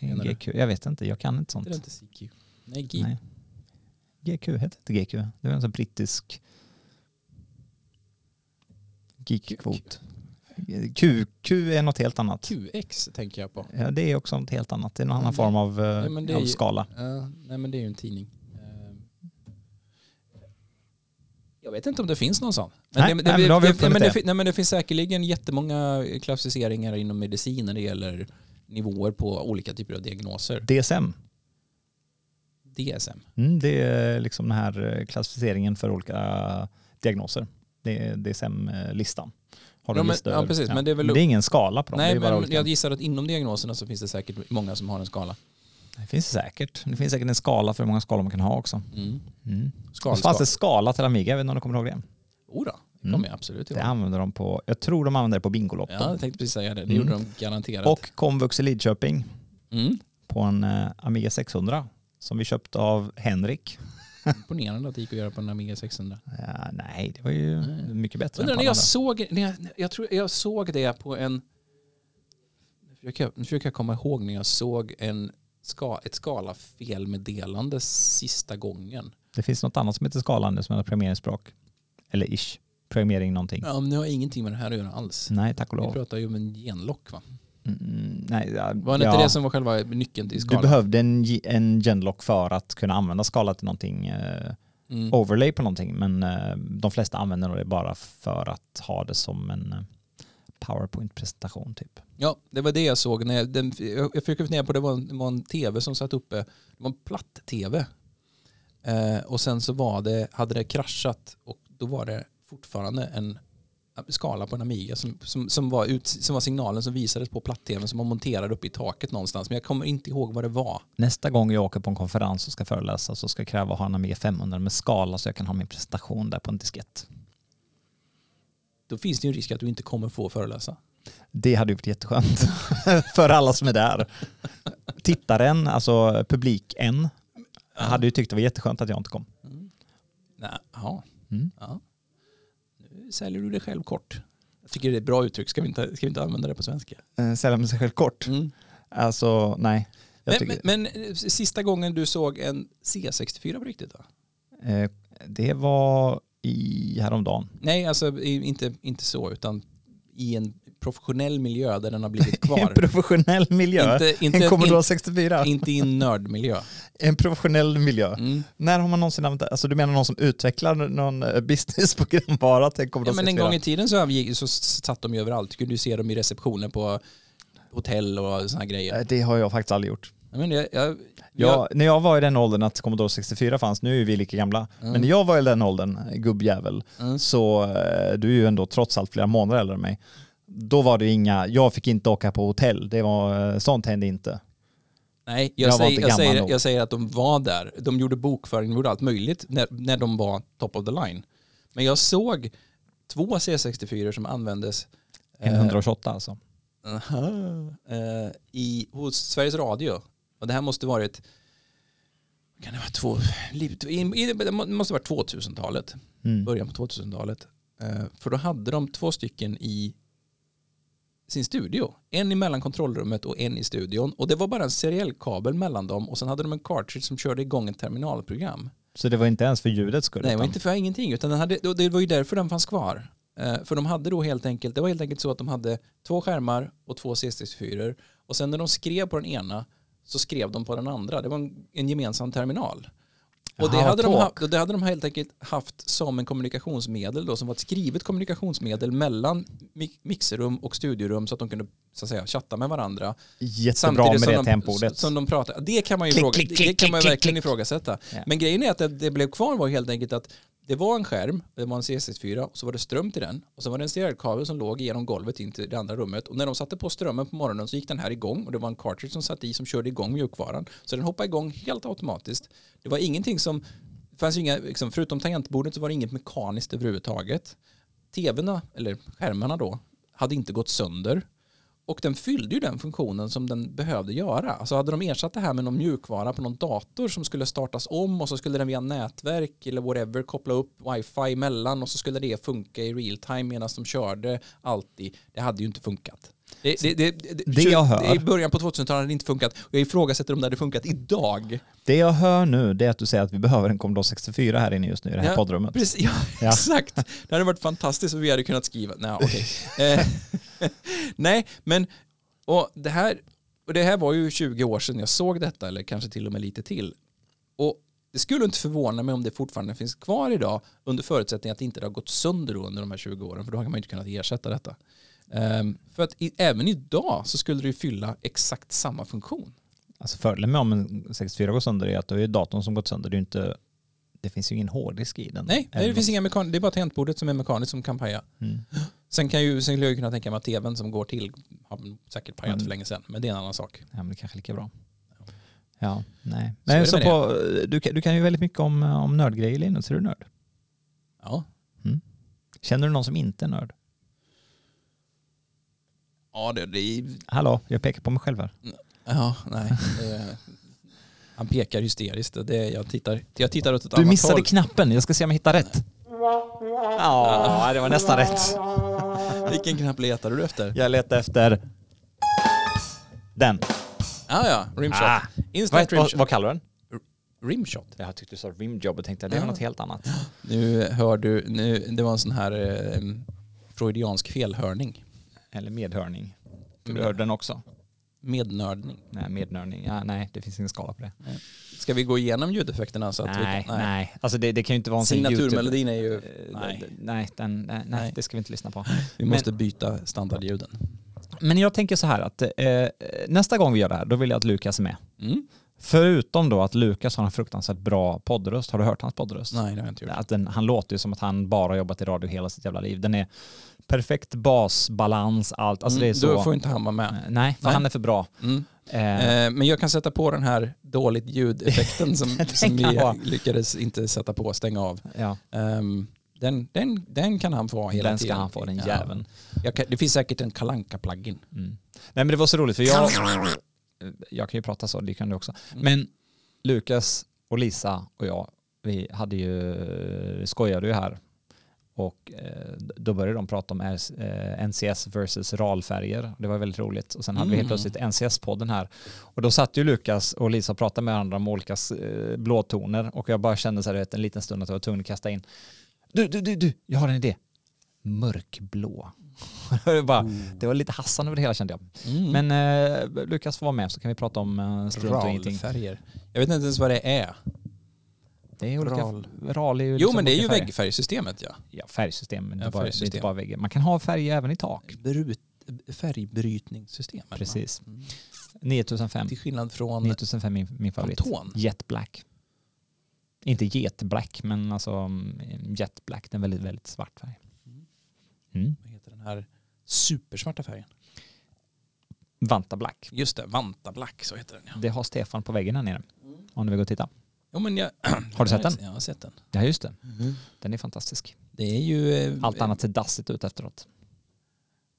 Menar du?
GQ? Jag vet inte, jag kan inte
Det är
sånt.
inte CQ. Nej, G.
Nej. GQ hette inte GQ. Det var en sån brittisk geek-kvot. QQ är något helt annat.
QX tänker jag på.
Ja, det är också något helt annat. Det är en annan
Men det-
form av, eh,
Nej, men det är
av
ju-
skala.
Ja, nej men det är ju en tidning. Eh, Jag vet inte om det finns någon sån. Men
Nej,
det,
nej, men då har vi
det-
uppfunnit
nej, men det.
det.
fin- Nej men det finns säkerligen jättemånga klassificeringar inom medicin när det gäller nivåer på olika typer av diagnoser.
DSM,
DSM.
mm, det är liksom den här eh, klassificeringen för olika diagnoser. Det är DSM-listan. Har du
Ja,
en
men-
lista
ja,
över-
precis, men det är väl-
det är ingen skala på dem. det,
Nej
är bara
men
olika.
jag gissar att inom diagnoserna så finns det säkert många som har en skala.
det finns det säkert. Det finns säkert en skala för hur många skalor man kan ha också.
Mm.
Mm.
Skal,
Och så fanns det
skal.
skala till Amiga, jag vet inte om du kommer ihåg det?
Jo Oh då, det
Mm.
kommer jag absolut
Det
ihåg.
använder de på, jag tror de använder det på
Typ. Ja,
Bingolotto.
jag tänkte precis säga det. Det
Mm.
gjorde de garanterat.
och Komvux i Lidköping
Mm.
på en eh, Amiga 600 som vi köpte av Henrik.
Imponerande att det gick att göra på en Amiga 600.
Ja, nej, det var ju
Nej.
mycket bättre
Undrar
än på alla
när jag
andra.
såg, när jag, när- jag, tror, jag såg det på en... Nu försöker jag, nu försöker jag komma ihåg när jag såg en ska, ett skalafel-meddelande sista gången.
Det finns något annat som heter skala nu som heter programmeringsspråk. Eller ish. Programmering någonting.
Ja, men det har ingenting med det här att göra alls.
Nej, tack och
Vi
lov.
pratar ju om en genlock va?
Mm, nej, ja,
Var det
ja.
inte det som var själva nyckeln till
Du
skala?
behövde en, ge- en genlock för att kunna använda skala till någonting, eh,
mm.
overlay på någonting, men eh, de flesta använder nog det bara för att ha det som en eh, powerpoint-presentation typ.
Ja, det var det jag såg. När jag, den, jag, jag fick ner på det var en, det var en tv som satt uppe. Det var en platt-tv. Eh, och sen så var det, hade det kraschat och då var det fortfarande en skala på en Amiga som, som, som, var, ut, som var signalen som visades på platt-tvn som man monterade upp i taket någonstans. Men jag kommer inte ihåg vad det var.
Nästa gång jag åker på en konferens och ska föreläsa så ska jag kräva att ha en Amiga 500 med skala så jag kan ha min presentation där på en diskett.
Då finns det ju en risk att du inte kommer få föreläsa.
Det hade ju varit jätteskönt <laughs> för alla som är där. Tittaren, alltså publiken, hade ju tyckt det var jätteskönt att jag inte kom.
Mm. Nej, ja.
Mm.
ja. Nu säljer du dig själv kort. Jag tycker det är ett bra uttryck. Ska vi inte, ska vi inte använda det på svenska?
Eh, Sälja mig sig själv kort. Alltså nej. Jag
Men,
tycker,
men, men sista gången du såg en C64 på riktigt då?
Eh, det var i häromdagen.
Nej, alltså i- inte, inte så, utan i en professionell miljö där den
<laughs>
har blivit
I en
kvar.
professionell miljö.
inte,
en Commodore
in,
64.
inte i en nördmiljö.
En professionell miljö.
Mm.
När har man någonsin använt det? Alltså du menar någon som utvecklar någon eh, businessprogramvara till en Commodore
Ja, men en
64?
gång i tiden så, övergick- så satt de ju överallt. Du kunde ju se dem i receptionen på hotell och sådana grejer.
Eh, Det har jag faktiskt aldrig gjort.
Jag menar, jag, jag,
Jag, när jag var i den åldern att Commodore 64 fanns, nu är vi lika gamla, men när jag var i den åldern, eh, gubbjävel,
Mm.
så eh, du är ju ändå trots allt flera månader äldre än mig. Då var det inga, jag fick inte åka på hotell, det var, eh, sånt hände inte.
nej,
jag
jag,
var
säger,
inte
jag,
gammal
säger,
nog.
jag säger att de var där. De gjorde bokföring, de gjorde allt möjligt när, när de var top of the line. Men jag såg två C64 som användes
En 128 alltså.
Eh, i, hos Sveriges Radio. Och det här måste varit, kan det vara två, liv- i, i, det måste varit 2000-talet,
Mm.
början på 2000-talet. Eh, för då hade de två stycken i sin studio. En i mellan kontrollrummet och en i studion. Och det var bara en seriell kabel mellan dem och sen hade de en cartridge som körde igång ett terminalprogram.
Så det var inte ens för ljudets skull.
Nej, det var
utan-
inte för ingenting. Utan den hade, och det var ju därför den fanns kvar. Eh, Eh, För de hade då helt enkelt, det var helt enkelt så att de hade två skärmar och två C64 och sen när de skrev på den ena så skrev de på den andra. Det var en, en gemensam terminal. Och det,
Jaha,
hade de,
talk.
ha- och det hade de helt enkelt haft som en kommunikationsmedel då, som var ett skrivet kommunikationsmedel mellan mi- mixerrum och studiorum så att de kunde så att säga, chatta med varandra.
Jättebra med det
som de,
tempoordet.
Som de pratade. Det kan man ju,
Klick,
fråga,
klick,
det
klick,
kan man ju
klick,
verkligen
klick.
ifrågasätta.
Ja.
Men grejen är att det, det blev kvar var helt enkelt att det var en skärm, det var en C64 och så var det ström till den och så var det en CR-kabel som låg genom golvet in till det andra rummet och när de satte på strömmen på morgonen så gick den här igång och det var en cartridge som satt i som körde igång mjukvaran så den hoppade igång helt automatiskt. Det var ingenting som, det fanns ju inga, liksom, förutom tangentbordet så var det inget mekaniskt överhuvudtaget. TVn, eller skärmarna då, hade inte gått sönder. Och den fyllde ju den funktionen som den behövde göra. Alltså hade de ersatt det här med någon mjukvara på någon dator som skulle startas om och så skulle den via nätverk eller whatever koppla upp wifi emellan och så skulle det funka i real time medan de körde alltid. Det hade ju inte funkat. Det, det, det, det,
Det jag hör.
I början på 2000-talet hade det inte funkat och jag ifrågasätter om det hade funkat idag.
Det jag hör nu det är att du säger att vi behöver en Commodore 64 här inne just nu i det här
Ja,
poddrummet.
Precis, ja,
Ja.
<laughs> exakt. Det hade varit fantastiskt om vi hade kunnat skriva. Nej, okej. Eh, <laughs> Nej, men och det, här, och det här var ju 20 år sedan jag såg detta, eller kanske till och med lite till. Och det skulle inte förvåna mig om det fortfarande finns kvar idag under förutsättning att det inte har gått sönder då under de här 20 åren, för då har man ju inte kunnat ersätta detta. Ehm, för att i, även idag så skulle det ju fylla exakt samma funktion.
Alltså fördelen med om en 64 går sönder är att det är ju datorn som gått sönder. Det, är ju inte, det finns ju ingen hårddisk i den.
Nej,
Eller
det finns inga mekan- det är bara tangentbordet som är mekaniskt som kan paja.
Mm.
Sen kan ju, sen skulle jag ju kunna tänka mig att tvn som går till har säkert pajat
Mm.
för länge sedan, men det är en annan sak.
Ja, men det kanske är lika bra. Ja, nej.
är det
Men så
med
på, du, kan- du kan ju väldigt mycket om, om nördgrejer Linus. Är du nörd? Mm.
Ja,
Känner du någon som inte är nörd?
ja det, det
Hallå, jag pekar på mig själv här.
ja, nej. Eh, Han pekar hysteriskt. och Det, jag, tittar, jag tittar åt ett
Du
annat
missade
håll.
knappen, jag ska se om jag hittar rätt. Ja, det var nästan rätt.
Vilken knapp letade du efter?
Jag letar efter den.
Ah, ja, rimshot.
Ah.
Instant
Vad, vad,
rimshot.
vad kallar du den?
rimshot.
Jag tyckte du sa rimjob och tänkte det var något helt annat.
Nu hör du, nu, det var en sån här eh, freudiansk felhörning.
Eller medhörning. Du
Mm.
hörde den också.
Mednördning.
Nej, mednördning. Ja, nej, det finns ingen skala på det.
Ska vi gå igenom ljudeffekterna? Så att vi,
nej, nej. Alltså det, det kan ju inte vara en sån YouTube-
Signaturmelodin är ju...
Eh, d-
Nej.
d- nej, den, nej,
Nej.
nej, det ska vi inte lyssna på.
Vi måste byta standardljuden.
Men jag tänker så här att eh, nästa gång vi gör det här, då vill jag att Lukas är med.
Mm.
Förutom då att Lukas har en fruktansvärt bra poddröst. Har du hört hans poddröst?
Nej, det har jag inte gjort.
Att den, han låter ju som att han bara har jobbat i radio hela sitt jävla liv. Den är perfekt basbalans, allt. Alltså det är
Mm,
så.
Då får inte han vara med.
Eh, Nej, för
Nej.
han är för bra.
Mm.
Eh,
Eh, men jag kan sätta på den här dåligt
<laughs>
ljudeffekten som, som vi
kan vara.
lyckades inte sätta på, stänga av.
ja,
Ehm, den, den, den kan han få ha hela
den
tiden.
ska han få, den jäveln.
Ja. Jag kan, det finns säkert en kalanka plugin
Mm. Nej men det var så roligt för jag, jag kan ju prata så, det kan du också. Men Lukas och Lisa och jag, vi hade ju, vi skojade ju här och eh, då började de prata om RS, eh, NCS versus RAL-färger. Det var väldigt roligt. Och sen hade vi helt
Mm.
plötsligt NCS-podden här. Och då satt ju Lukas och Lisa och pratade med varandra om olika eh, blåtoner och jag bara kände så här du vet, en liten stund att jag var tvungen att kasta in. Du, du, du, du, jag har en idé. Mörkblå. <laughs> Det bara, det var lite Hassan över det hela kände jag.
Mm.
Men eh, Lukas får vara med så kan vi prata om eh, strunt och ingenting.
Ralfärger. Jag vet inte ens vad det är.
Det är olika,
Ral.
ral. är ju
Jo,
liksom
men det är
olika
ju
färger.
väggfärgsystemet ja.
Ja, färgsystem, men det,
Ja,
är bara, det är inte
färgsystem.
bara väggar. Man kan ha färger även i tak.
Brut, färgbrytningssystemet. va?
Precis.
Mm.
9005.
Till skillnad från
9005 är min, min favorit.
Anton.
Jet Black. Inte Jet Black, men alltså mm, Jet Black. Den är väldigt, väldigt svart färg. Mm.
Vad heter den här supersvarta färgen?
Vanta Black.
Just det, Vanta Black så heter den ja.
Det har Stefan på väggen här nere. Om du vill gå och titta.
Jo, men jag,
Har du sett den?
Jag har sett den.
Ja, just det.
Mhm.
Den är fantastisk.
Det är ju... eh,
Allt annat ser dassigt ut efteråt.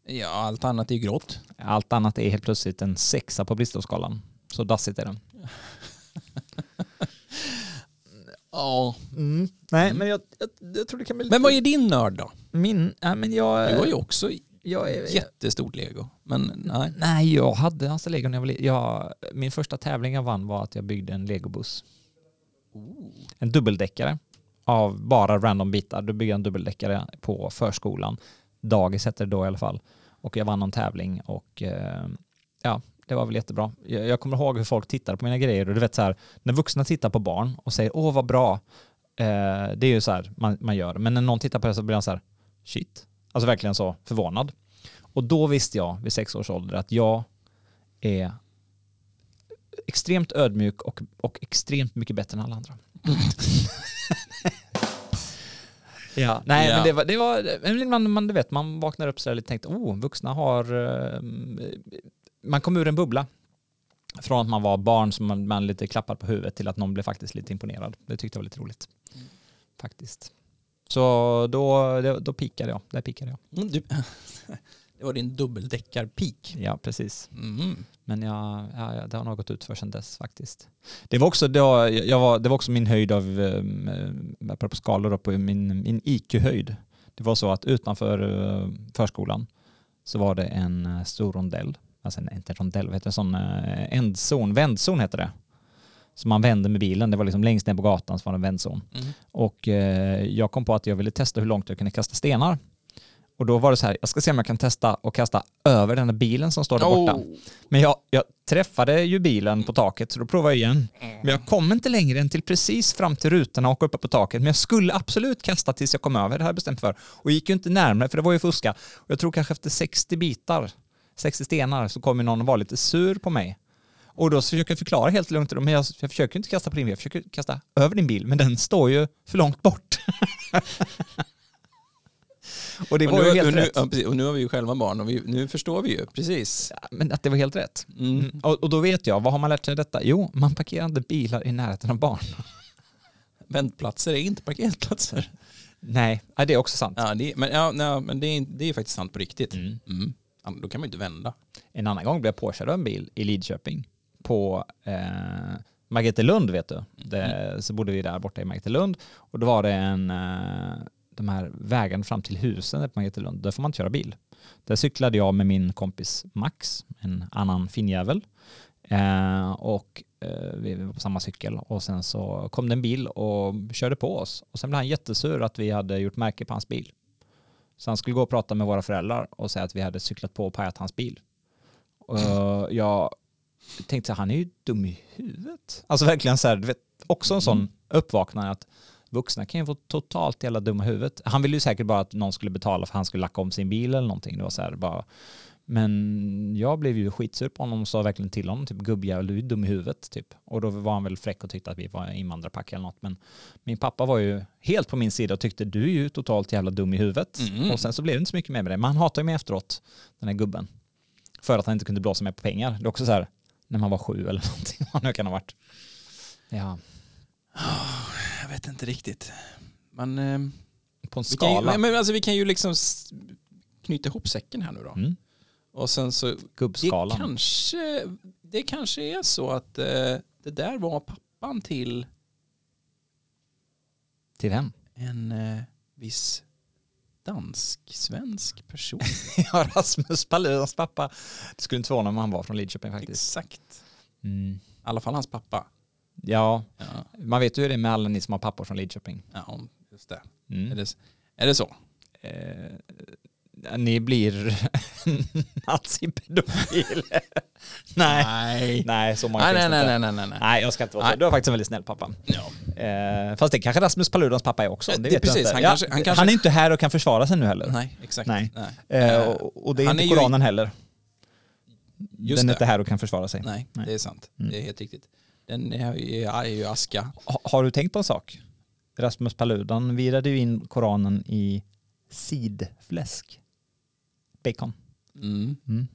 Ja, allt annat är ju grått.
Allt annat är helt plötsligt en sexa på Bristolskalan. Så dassigt är den.
Ja.
Mm. Nej, men jag, jag, jag tror det kan bli
Men vad är din nörd då?
Min, nej men
Du
jag...
har ju också
jag är-
jättestort lego. Men nej.
Nej, jag hade hans lego när jag var li- jag, Min första tävling jag vann var att jag byggde en legobuss. En dubbeldäckare av bara random bitar. Då byggde jag en dubbeldäckare på förskolan. Dagis hette det då i alla fall. Och jag vann någon tävling och eh, ja, det var väl jättebra. Jag, jag kommer ihåg hur folk tittade på mina grejer och du vet så här, när vuxna tittar på barn och säger åh vad bra, eh, det är ju så här man, man gör. Men när någon tittar på det så blir man så här, shit. Alltså verkligen så förvånad. Och då visste jag vid sex års ålder att jag är extremt ödmjuk och, och extremt mycket bättre än alla andra. ja, nej
Ja.
men det var, det var men man, man, du vet, man vaknar upp sådär lite och tänkte, oh, vuxna har, eh, man kom ur en bubbla. Från att man var barn som man, man lite klappar på huvudet till att någon blev faktiskt lite imponerad. Det tyckte jag var lite roligt. Faktiskt. Så då, då, då pikade jag. Där pikade jag.
Mm, Du, <laughs> det var din dubbeldäckarpik.
Ja, precis.
Mm.
Men jag, ja, ja, det har nog gått ut för sedan dess faktiskt. Det var också, det var, jag var, det var också min höjd av, um, apropå skalor, då, på min, min IQ-höjd. Det var så att utanför eh, förskolan så var det en eh, stor rondell, alltså en, inte en rondell, vad heter det, en sån eh, endzon, vändzon heter det. Som man vände med bilen, det var liksom längst ner på gatan så var det en vändzon.
Mm.
Och eh, jag kom på att jag ville testa hur långt jag kunde kasta stenar. Och då var det så här, jag ska se om jag kan testa och kasta över den där bilen som står där borta.
Oh.
Men jag, jag träffade ju bilen på taket så då provade jag igen. Men jag kom inte längre än till precis fram till rutorna och uppe på taket. Men jag skulle absolut kasta tills jag kom över, det hade jag bestämt för. Och gick ju inte närmare för det var ju fuska. Och jag tror kanske efter 60 bitar, 60 stenar, så kom ju någon och var lite sur på mig. Och då försöker jag förklara helt lugnt till dem, men jag, jag försöker ju inte kasta på din bil, jag försöker kasta över din bil, men den står ju för långt bort. <laughs> och det
Och
var
nu,
ju helt
och nu,
rätt.
ja, precis. och nu har vi ju själva barn och vi, nu förstår vi ju. Precis.
Men att det var helt rätt.
Mm.
Mm. Och, och då vet jag, vad har man lärt sig av detta? Jo, man parkerar inte bilar i närheten av barn.
Väntplatser är inte parkeringsplatser.
Nej, ja, det är också sant.
Ja, det, men ja, nej, men det, är, det är ju faktiskt sant på riktigt. Mm. Ja, men då kan man ju inte vända.
En annan gång blev jag påkörd av en bil i Lidköping på eh, Margretelund, vet du.
Mm.
Det, så bodde vi där borta i Margretelund och då var det en, eh, de här vägarna fram till husen där på Margretelund, där får man inte köra bil. Där cyklade jag med min kompis Max, en annan finjävel. Eh, och eh, vi var på samma cykel och sen så kom det en bil och körde på oss och sen blev han jättesur att vi hade gjort märke på hans bil. Så han skulle gå och prata med våra föräldrar och säga att vi hade cyklat på och pajat hans bil. Och jag tänkte så här, han är ju dum i huvudet. Alltså verkligen så här, du vet, också en sån uppvaknande att vuxna kan ju få totalt jävla dumma huvudet. Han ville ju säkert bara att någon skulle betala för att han skulle lacka om sin bil eller någonting. Det var så här bara. Men jag blev ju skitsur på honom och sa verkligen till honom, typ gubbjävel, du är dum i huvudet typ. Och då var han väl fräck och tyckte att vi var invandrarpack eller något. Men min pappa var ju helt på min sida och tyckte du är ju totalt jävla dum i huvudet.
Mm.
Och sen så blev det inte så mycket mer med det. Men han hatar ju mig efteråt, den här gubben för att han inte kunde blåsa med på pengar. Det är också så här, när man var sju eller <laughs> någonting, vad nu kan ha varit. Ja,
Jag vet inte riktigt. Men, eh,
på en
vi, kan ju,
skala.
men, men alltså, vi kan ju liksom s- knyta ihop säcken här nu då.
Mm.
Och sen så, det
Gubbskalan.
kanske, det kanske är så att eh, det där var pappan till
Till vem? <laughs>
en eh, viss dansk-svensk <laughs> person.
Ja, Rasmus Paludans pappa. Det skulle inte förvåna om han var från Lidköping faktiskt.
Exakt.
Mm.
I alla fall hans pappa.
Ja,
Ja,
man vet ju hur det är med alla ni som har pappor från Lidköping.
ja just det. Är,
Mm.
det. är det så?
Eh, ni blir <laughs> nazipedofiler. nej.
<laughs> Nej.
nej, så många
Nej,
finns
nej,
det
nej,
inte.
nej, nej, nej, nej.
Nej, jag ska inte vara så.
Nej.
Du har faktiskt en väldigt snäll pappa.
Ja.
Eh, fast det kanske Rasmus Paludans pappa är också. Det,
Det är
vet jag
precis,
inte.
han
ja,
kanske- han kanske-
han är inte här och kan försvara sig nu heller.
nej, exakt.
Nej.
nej.
Eh, och, och det är
Han
inte
är ju-
Koranen heller.
Just
Den är
det.
inte här och kan försvara sig.
Nej,
Nej. Mm.
det är sant. Det är helt riktigt. Den är ju, är ju aska.
Ha, har du tänkt på en sak? Rasmus Paludan virade ju in Koranen i sidfläsk. Bacon.
Mm.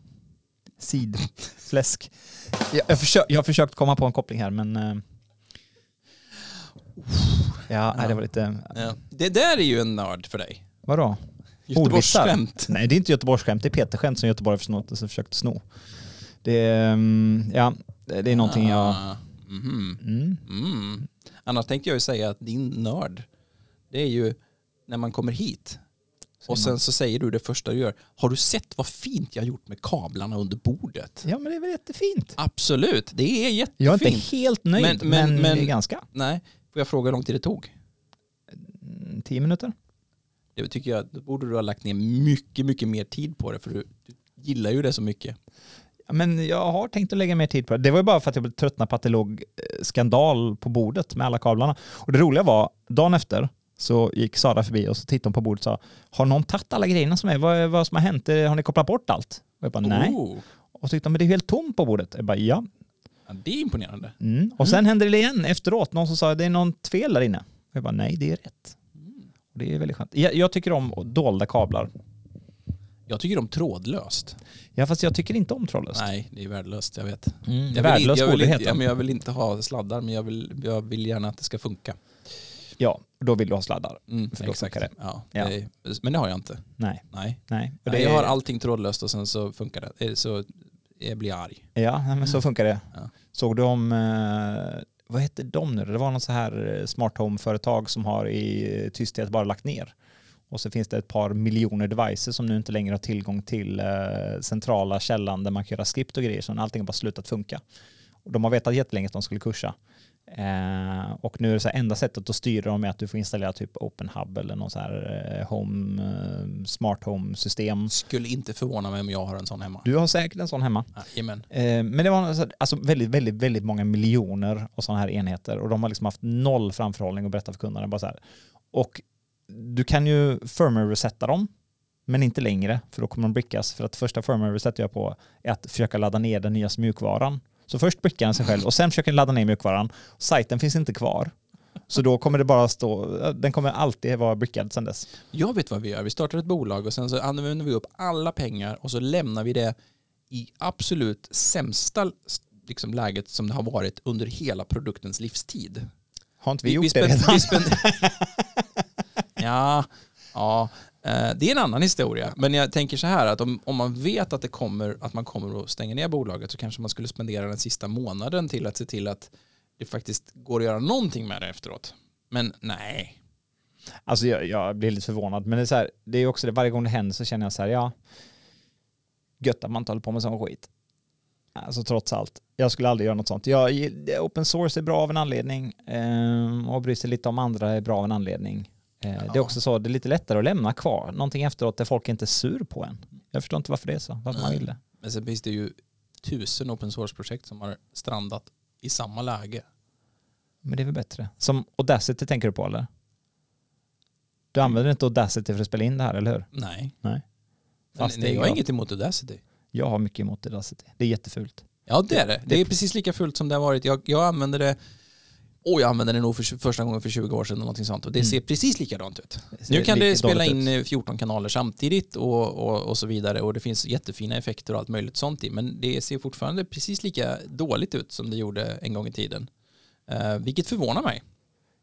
Sidfläsk. Jag, jag, försö- jag har försökt komma på en koppling här men... Eh, ja, nej, det var lite...
Ja. Det där är ju en nörd för dig.
Vadå? Ordvitsar?
Göteborgsskämt.
Nej, det är inte Göteborgsskämt, det är Peterskämt som Göteborg försnott, som försökte sno. Det är, mm, ja, det är någonting jag...
Ah, mhm.
Mm.
Mm. Annars tänkte jag ju säga att din nörd, det är ju när man kommer hit och sen så säger du det första du gör. Har du sett vad fint jag har gjort med kablarna under bordet?
Ja, men det är väl jättefint.
Absolut, det är jättefint.
Jag är inte helt nöjd, men,
Men- men- men-
ganska.
Nej, får jag fråga hur lång tid det tog?
mm, tio minuter.
Det tycker jag, då borde du ha lagt ner mycket, mycket mer tid på det för du, du gillar ju det så mycket.
Men jag har tänkt att lägga mer tid på det. Det var ju bara för att jag blev tröttnad på att det låg eh, skandal på bordet med alla kablarna. Och det roliga var, dagen efter så gick Sara förbi och så tittade hon på bordet och sa Har någon tagit alla grejerna som är? Vad, är- vad som har hänt? Eh, Har ni kopplat bort allt? Och jag bara nej.
Oh,
Och så tyckte hon, men det är ju helt tomt på bordet. Jag bara ja.
ja, det är imponerande.
Mm. Och sen hände det igen efteråt. Någon som sa det är något fel där inne. Och jag bara nej, det är rätt.
Mm.
Och det är väldigt skönt. Jag, jag tycker om dolda kablar.
Jag tycker om trådlöst.
Ja, fast jag tycker inte om trådlöst.
Nej, det är värdelöst, jag vet.
Mm,
Jag vill,
värdelös
jag, vill,
borde det
inte-
heta.
ja, men jag vill inte ha sladdar, men jag vill, jag vill gärna att det ska funka.
Ja, då vill du ha sladdar.
Mm,
För då funkar det.
Ja,
Ja.
Det, är- men det har jag inte.
Nej,
Nej.
nej. Och
Nej,
det-
Jag har allting trådlöst och sen så funkar det. Eh, Så jag blir arg.
Ja, nej, men så funkar det.
Mm. Ja.
Såg du om, eh, vad hette de nu? Det var något så här eh, smart home-företag som har i eh, tysthet bara lagt ner. Och så finns det ett par miljoner devices som nu inte längre har tillgång till eh, centrala källan där man kan göra skript och grejer. Så allting har bara slutat funka. Och de har vetat jättelänge att de skulle kursa. Eh, och nu är det så här, enda sättet att styra dem är att du får installera typ OpenHub eller någon så här eh, home, eh, smart home-system.
Skulle inte förvåna mig om jag har en sån hemma.
Du har säkert en sån hemma.
Jajamän.
Eh, Men det var alltså- alltså väldigt, väldigt, väldigt många miljoner och sådana här enheter och de har liksom haft noll framförhållning och berätta för kunderna. Bara så här. Och du kan ju firmware-resetta dem, men inte längre, för då kommer de brickas. För att första firmware-reset jag på är att försöka ladda ner den nya mjukvaran. Så först brickar den sig själv och sen försöker den ladda ner mjukvaran. Sajten finns inte kvar. Så då kommer det bara stå, den kommer alltid vara brickad sedan dess.
Jag vet vad vi gör. Vi startar ett bolag och sen så använder vi upp alla pengar och så lämnar vi det i absolut sämsta liksom, läget som det har varit under hela produktens livstid.
Har inte vi, gjort det
spend-
redan?
vi spend- <laughs> ja, ja. Eh, Det är en annan historia. Men jag tänker så här att om, om man vet att, det kommer, att man kommer att stänga ner bolaget så kanske man skulle spendera den sista månaden till att se till att det faktiskt går att göra någonting med det efteråt. Men nej.
Alltså jag, jag blir lite förvånad, men det är, så här, det är också det, varje gång det händer så känner jag så här, ja, gött att man inte håller på med sån skit. Alltså trots allt, jag skulle aldrig göra något sånt. Jag, gill- open source är bra av en anledning ehm, och bryr sig lite om andra är bra av en anledning. Eh, Det är
Ja.
också så, det är lite lättare att lämna kvar någonting efteråt där folk inte är sur på en. Jag förstår inte varför det är så, varför man
Nej.
vill det.
Men sen finns det ju tusen open source-projekt som har strandat i samma läge.
Men det är väl bättre. Som Audacity tänker du på eller? Du använder inte Audacity för att spela in det här, eller hur?
Nej.
Nej. Fast
Fast nej,
det är
jag har
bra.
inget emot Audacity.
Jag har mycket emot Audacity. Det är jättefult.
Ja, det är det. Det är precis lika fullt som det har varit. Jag, jag använder det och jag använde det nog för, tju- första gången för 20 år sedan eller någonting sånt och det ser precis likadant ut.
Mm. ser
Nu kan det
riktigt
spela
dåligt
in
ut.
eh, 14 kanaler samtidigt och, och, och så vidare och det finns jättefina effekter och allt möjligt sånt i men det ser fortfarande precis lika dåligt ut som det gjorde en gång i tiden. Eh, vilket förvånar mig.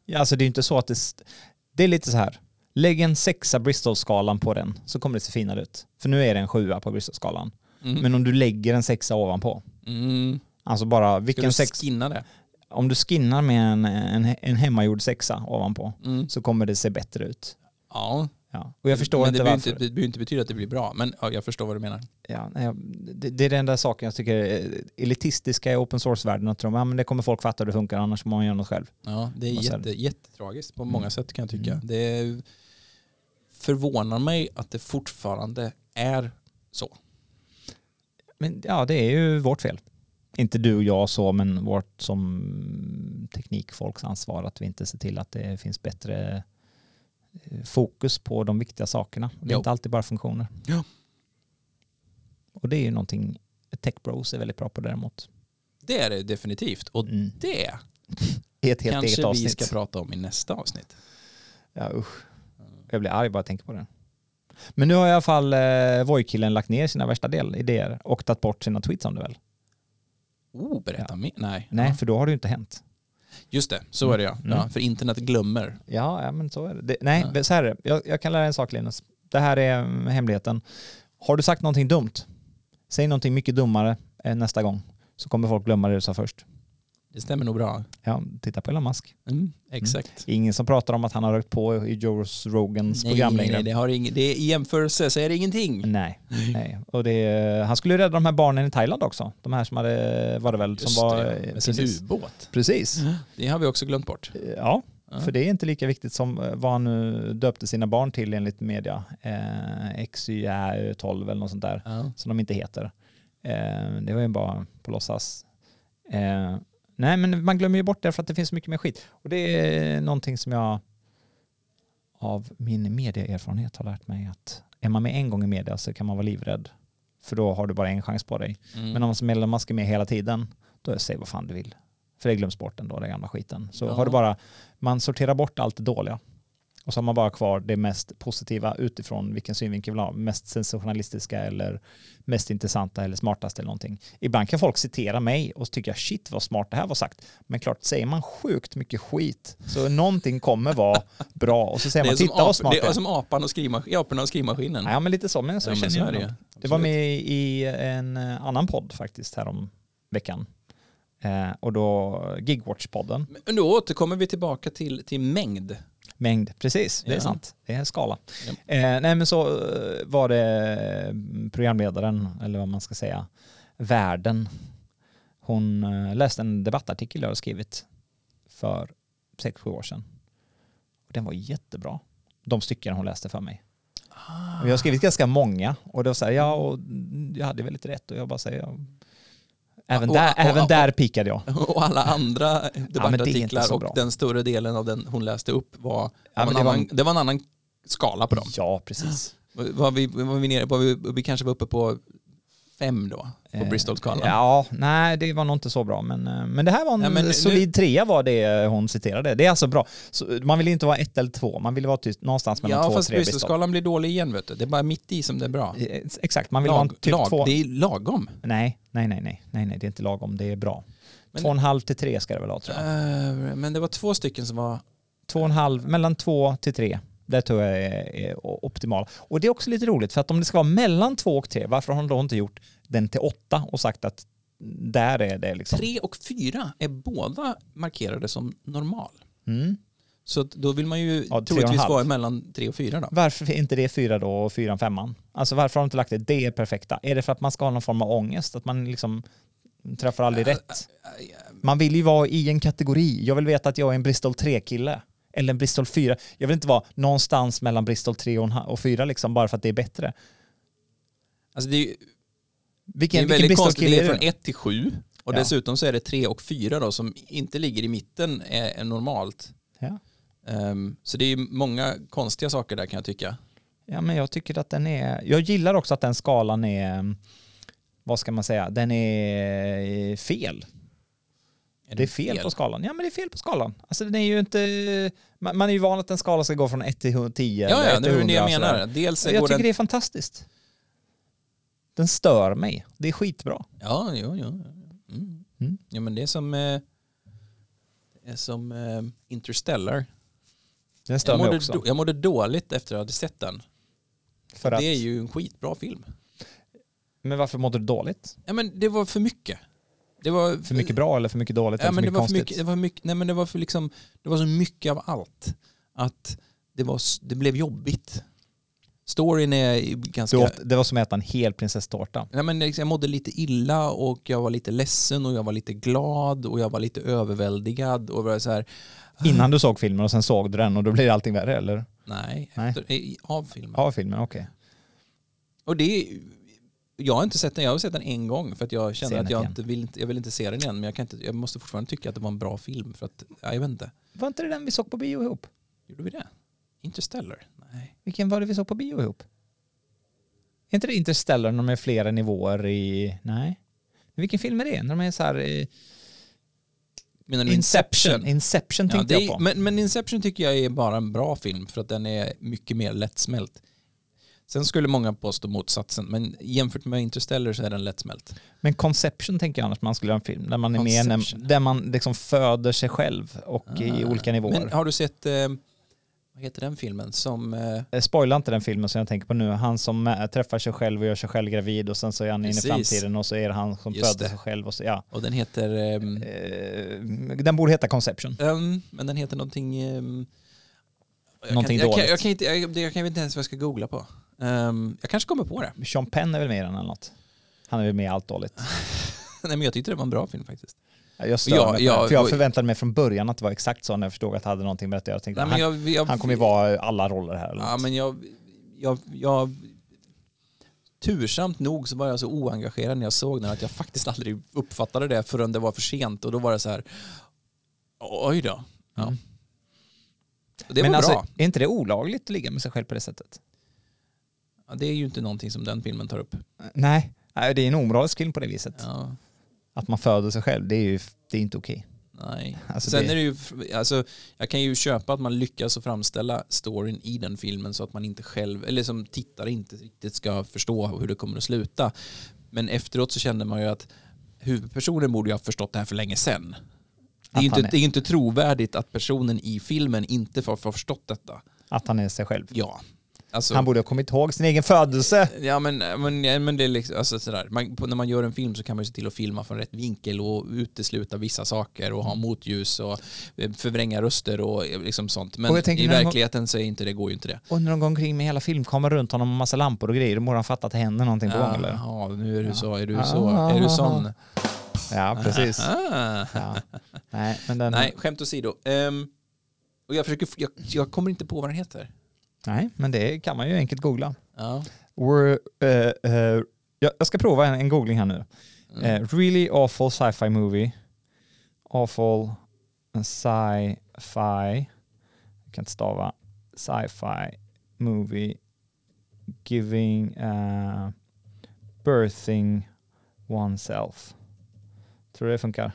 Ja, alltså det är ju inte så att det... St- det är lite så här. Lägg en sexa Bristol-skalan på den så kommer det se finare ut. För nu är det en sjua på Bristol-skalan.
Mm.
Men om du lägger en sexa ovanpå.
Mm.
Alltså bara
Ska
vilken
du
sex...
skinna det?
Om du skinnar med en, en, en hemmagjord sexa ovanpå
Mm.
så kommer det se bättre ut.
Ja,
Ja. Och jag förstår
men
inte
det behöver
varför.
inte, det behöver inte betyda att det blir bra men ja, jag förstår vad du menar.
Ja, nej, jag- det, det är den där saken jag tycker är elitistiska i open source-världen. Att tro, ja, men det kommer folk fatta hur det funkar annars må man göra något själv.
Ja, det är
Vad säger
jätte, jättetragiskt på många sätt kan jag tycka. Det förvånar mig att det fortfarande är så.
Men ja, det är ju vårt fel. Inte du och jag så, men vårt som teknikfolks ansvar att vi inte ser till att det finns bättre eh, fokus på de viktiga sakerna. Det är
Jo.
inte alltid bara funktioner.
Ja.
Och det är ju någonting Tech Bros är väldigt bra på däremot.
Det är det definitivt. Och
Mm.
det
I ett helt eget
kanske vi
avsnitt.
ska prata om i nästa avsnitt.
Ja, usch. Jag blir arg bara jag tänker på det. Men nu har i alla fall eh, Voi-killen lagt ner sina värsta del, idéer och tagit bort sina tweets om det väl?
Oh, berätta mer. Nej. Mm.
Nej,
Ja.
för då har det ju inte hänt.
Just det, så är det ja. ja. För internet glömmer.
Ja, ja men så är det. det nej,
Ja.
så här är det. Jag, jag kan lära dig en sak Linus. Det här är mm, hemligheten. Har du sagt någonting dumt, säg någonting mycket dummare eh, nästa gång så kommer folk glömma det du sa först.
Det stämmer nog bra.
Ja, titta på Elon Musk.
Mm, exakt.
Ingen som pratar om att han har rökt på i Joe
Mm.
Rogans program
nej,
längre.
nej, det, har ing- det är i jämförelse så är det ingenting.
Nej, nej. Och det, är- han skulle ju rädda de här barnen i Thailand också. De här som hade, var det väl,
Just
som var...
det, ja.
eh,
med sin
precis.
ubåt.
precis.
Det har vi också glömt bort.
Ja, För det är inte lika viktigt som eh, vad han nu döpte sina barn till enligt media. Eh, XY12 eller något sånt där.
Ja.
som de inte heter. Eh, det var ju bara på låtsas. Eh, nej, men man glömmer ju bort det för att det finns så mycket mer skit. Och det är någonting som jag av min medieerfarenhet har lärt mig att är man med en gång i media så kan man vara livrädd. För då har du bara en chans på dig.
Mm.
Men om man som medlem man ska med hela tiden, då säg vad fan du vill. För det glöms bort ändå, den gamla skiten. Så
Ja.
har du bara, man sorterar bort allt det dåliga. Och så har man bara kvar det mest positiva utifrån vilken synvinkel vi vill ha. Mest sensationalistiska eller mest intressanta eller smartaste eller någonting. Ibland kan folk citera mig och tycka shit vad smart det här var sagt. Men klart, säger man sjukt mycket skit så någonting kommer vara bra. Och så säger
det, är
man
som
titta vad
ap-
smart
det är som apan och skrivma- aporna och skrivmaskinen.
Ja men lite så, men så
Ja,
känner
men så är
jag
det
det.
ju.
Det var
Absolut.
med i en eh, annan podd faktiskt härom veckan. Eh, och då Gigwatch-podden.
Men då återkommer vi tillbaka till, till mängd. <laughs>
Mängd, precis, det är
Ja.
sant. Det är en skala.
Ja.
Eh, nej men så eh, var det mm, programledaren, eller vad man ska säga, värden. Hon eh, läste en debattartikel jag hade skrivit för sex sju år sedan. Och den var jättebra, de stycken hon läste för mig.
Ah.
Och Jag har skrivit ganska många och då säger ja, och jag hade väldigt rätt och jag bara säger ja. Även,
Ah, Och-
där,
och-
även
och-
där pikade jag.
Och alla andra
inte
debattartiklar
så bra.
och den större delen av den hon läste upp var,
men
var, en,
det var-
annan, det var en annan skala på dem.
Ja, precis.
Var vi, var vi, nere på, vi, vi kanske var uppe på fem då, på
Eh,
Bristol-skalan.
Ja, nej det var nog inte så bra. Men, eh, men det här var en
Ja, men nu-
solid trea var det eh, hon citerade. Det är alltså bra. Så man vill inte vara ett eller två, man vill vara tyst, någonstans mellan
Ja,
två och
fast
tre. Bristol.
Bristol-skalan blir dålig igen vet du. Det är bara mitt i som det är bra.
Eh, Exakt, man vill ha en
Lag,
typ två.
lag, det är lagom.
Nej, nej, nej, nej, nej, nej, det är inte lagom, det är bra.
Men-
Två och en halv till tre ska det väl vara tror jag.
Eh, Men det var två stycken som var...
Två och en halv, mellan två till tre. Det tror jag är, är optimalt. Och det är också lite roligt för att om det ska vara mellan två och tre, varför har de då inte gjort den till åtta och sagt att där är det liksom.
Tre och fyra är båda markerade som normal.
Mm.
Så att då vill man
Ja,
ju
tre och en
troligtvis
halv.
vara mellan tre och fyra då.
Varför är inte det fyra då och fyran femman? Alltså varför har de inte lagt det? Det är perfekta. Är det för att man ska ha någon form av ångest? Att man liksom träffar
Äh,
aldrig rätt? Man vill ju vara i en kategori. Jag vill veta att jag är en Bristol 3-kille. Eller en Bristol 4. Jag vill inte vara någonstans mellan Bristol 3 och en ha- och 4 liksom, bara för att det är bättre.
Alltså det är ju det är
Vilken, vilken
väldigt konstigt, det
Bristol-kille
är
är
från
du?
ett till sju. Och
Ja.
dessutom så är det tre och fyra då som inte ligger i mitten är, är normalt.
Ja.
Ehm, så det är ju många konstiga saker där kan jag tycka.
ja, men jag tycker att den är... Jag gillar också att den skalan är... Vad ska man säga? Den är fel.
Är
Det är fel, på skalan. Ja, men det är fel på skalan. Alltså, den är ju inte... Man, man är ju van att en skala ska gå från 1 till 10.
Ja,
eller
ja,
1 till
det är ju
100
det jag
och sådär.
menar. Dels
alltså. Jag
går
tycker
den...
det är fantastiskt. Den stör mig. Det är skitbra.
Ja, jo, jo. jo. Mm.
Mm.
Ja, men det är som, eh, det är som eh, Interstellar.
Den stör
Jag
mig
mådde,
också.
då, jag mådde dåligt efter att jag hade sett den.
för att,
Det är ju en skitbra film.
Men varför mådde du dåligt?
Ja, men det var för mycket. Det var
För mycket bra eller för mycket dåligt?
Eh, Ja,
eller
men det
för mycket
var för
konstigt?
mycket, det var mycket, nej men det var för liksom, det var så mycket av allt att det, var, s- det blev jobbigt. Storyn är ju ganska,
Du åt, det var som att äta en hel prinsesstårta.
nej men liksom, jag mådde lite illa och jag var lite ledsen och jag var lite glad och jag var lite överväldigad och var så här,
Innan du såg filmen och sen såg du den och då blir allting värre eller?
nej,
Nej.
Efter, i- av filmen.
Ja, filmen, okej.
Och det, är- jag har inte sett den, jag har sett den en gång för att jag kände
Se den
att jag
igen.
inte vill, inte- jag vill inte se den igen men jag, kan inte, jag måste fortfarande tycka att det var en bra film för att, ja, jag vet inte,
Var inte det den vi såg på bio ihop?
gjorde vi det? Interstellar? Nej.
Vilken var det vi såg på bio ihop? Är inte det Interstellar när de är flera nivåer i... Nej. Vilken film är det? När de är så här... i-
Menar du
Inception. Inception
Ja,
tänkte
det
jag
är,
på.
men, men Inception tycker jag är bara en bra film för att den är mycket mer lättsmält. Sen skulle många påstå motsatsen, men jämfört med Interstellar så är den lättsmält.
Men Conception tänker jag annars man skulle göra en film där man är med,
Conception. Ah.
när, där man liksom föder sig själv och i olika nivåer.
Men har du sett, eh, vad heter den filmen som... Eh,
Eh, Spoila inte den filmen som jag tänker på nu. Han som eh, träffar sig själv och gör sig själv gravid och sen så är han
Precis.
inne i framtiden och så är det han som
Just
föder
det.
sig själv och så, ja.
och den heter... ehm,
Eh, Den borde heta Conception.
ehm, men den heter någonting... ehm, jag
Någonting
kan, jag kan,
dåligt.
jag, kan inte, jag, jag kan inte ens vad jag ska googla på. Ehm, jag kanske kommer på det. <laughs>
Sean Penn är väl med i den eller något? Han är väl med i allt dåligt.
Nej, men jag tyckte det var en bra film faktiskt.
Jag stör
Ja,
mig på
ja,
det, för jag
och-
förväntade mig från början att det var exakt så när jag förstod att det hade någonting med det att göra. Jag tänkte,
Nej, men
han,
jag, jag,
han kommer ju vara alla roller här. eller
Ja,
något.
men jag, jag, jag... Tursamt nog så var jag så oengagerad när jag såg den att jag faktiskt aldrig uppfattade det förrän det var för sent och då var det så här... Oj då. Ja.
Mm.
Och det
men
var
alltså,
bra.
är inte det olagligt att ligga med sig själv på det sättet?
Ja, det är ju inte någonting som den filmen tar upp.
Nej, Nej, det är en omoralisk film på det viset.
Ja,
Att man föder sig själv, det är ju det är inte okej.
nej.
Alltså,
Sen
det-
är det ju... Alltså, jag kan ju köpa att man lyckas att framställa storyn i den filmen så att man inte själv, eller som tittare inte riktigt ska förstå hur det kommer att sluta. Men efteråt så kände man ju att huvudpersonen borde ju ha förstått det här för länge sedan. Det är,
Att
ju
han
inte,
är-
det är ju inte trovärdigt att personen i filmen inte får får ha förstått detta.
Att han är sig själv.
Ja. Alltså,
Han borde ha kommit ihåg sin egen födelse.
ja men, men, ja, men det är liksom, alltså sådär. Man, på, när man gör en film så kan man ju se till att filma från rätt vinkel och utesluta vissa saker och
Mm.
ha motljus och eh, förvränga röster och eh, liksom sånt. Men
Och jag tänker
i
när man-
verkligheten så är inte det, går ju inte det.
Och när de går omkring med hela filmkameran runt honom och massa lampor och grejer, då borde han fatta att det händer någonting på gång eller?
Jaha, Ah, nu är du så, är du
Ja. Ah.
så, är
<laughs>
du sån?
Ja, precis.
<laughs> Ah.
Ja. Nej, men den...
Nej, skämt åsido. Um, och jag, försöker, jag, jag kommer inte på vad den heter.
Nej, men det kan man ju enkelt googla.
Ja.
We're, eh, eh, jag, jag ska prova en, en googling här nu.
Mm.
Eh, really awful sci-fi movie. Awful sci-fi. Jag kan inte stava. Sci-fi movie. Giving, eh, birthing oneself. Tror du det funkar?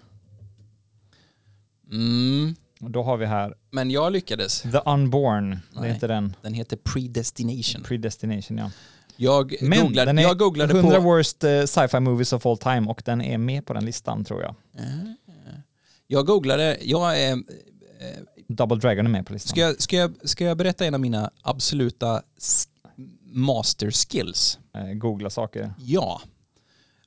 Mm.
Och då har vi här
Men jag lyckades.
The Unborn. Det
Nej.
är inte den.
Den heter Predestination.
Predestination ja.
Jag,
Men den
googlade,
är
jag googlade
100
på...
worst eh, sci-fi movies of all time och den är med på den listan tror jag.
Jag googlade... Jag, är- eh,
Double Dragon är med på listan.
ska, jag, ska, jag, ska jag berätta en av mina absoluta s- master skills?
Eh, googla saker.
Ja.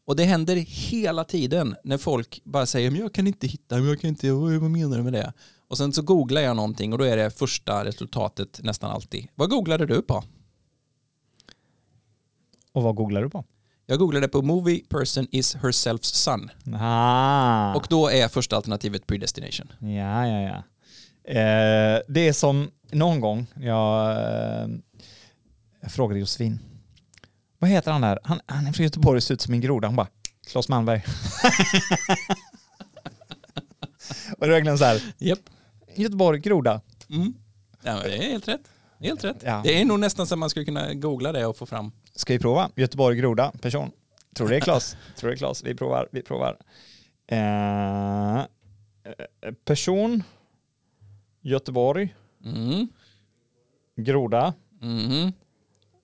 Och det händer hela tiden när folk bara säger men jag kan inte hitta, men jag kan inte, oj, vad menar du med det? Och sen så googlar jag någonting och då är det första resultatet nästan alltid. Vad googlade du på?
Och vad googlar du på?
Jag googlade på movie person is herself's son.
Ah.
Och då är första alternativet predestination.
Ja, ja, ja. Eh, det är som någon gång jag, eh, jag frågade Josefin. Vad heter han där? Han, han är från Göteborg och ser ut som en groda. Hon bara, Claes Malmberg. <laughs> och det var verkligen så här,
Japp.
Göteborg, groda.
Mm. Ja, men det är helt rätt. Det är helt rätt.
Ja.
Det är nog nästan så att man skulle kunna googla det och få fram.
Ska vi prova? Göteborg, groda, person. Tror det är Claes. <laughs> Tror det är Claes. Vi provar, vi provar. Eh, eh, person, Göteborg,
Mm.
groda.
Mhm.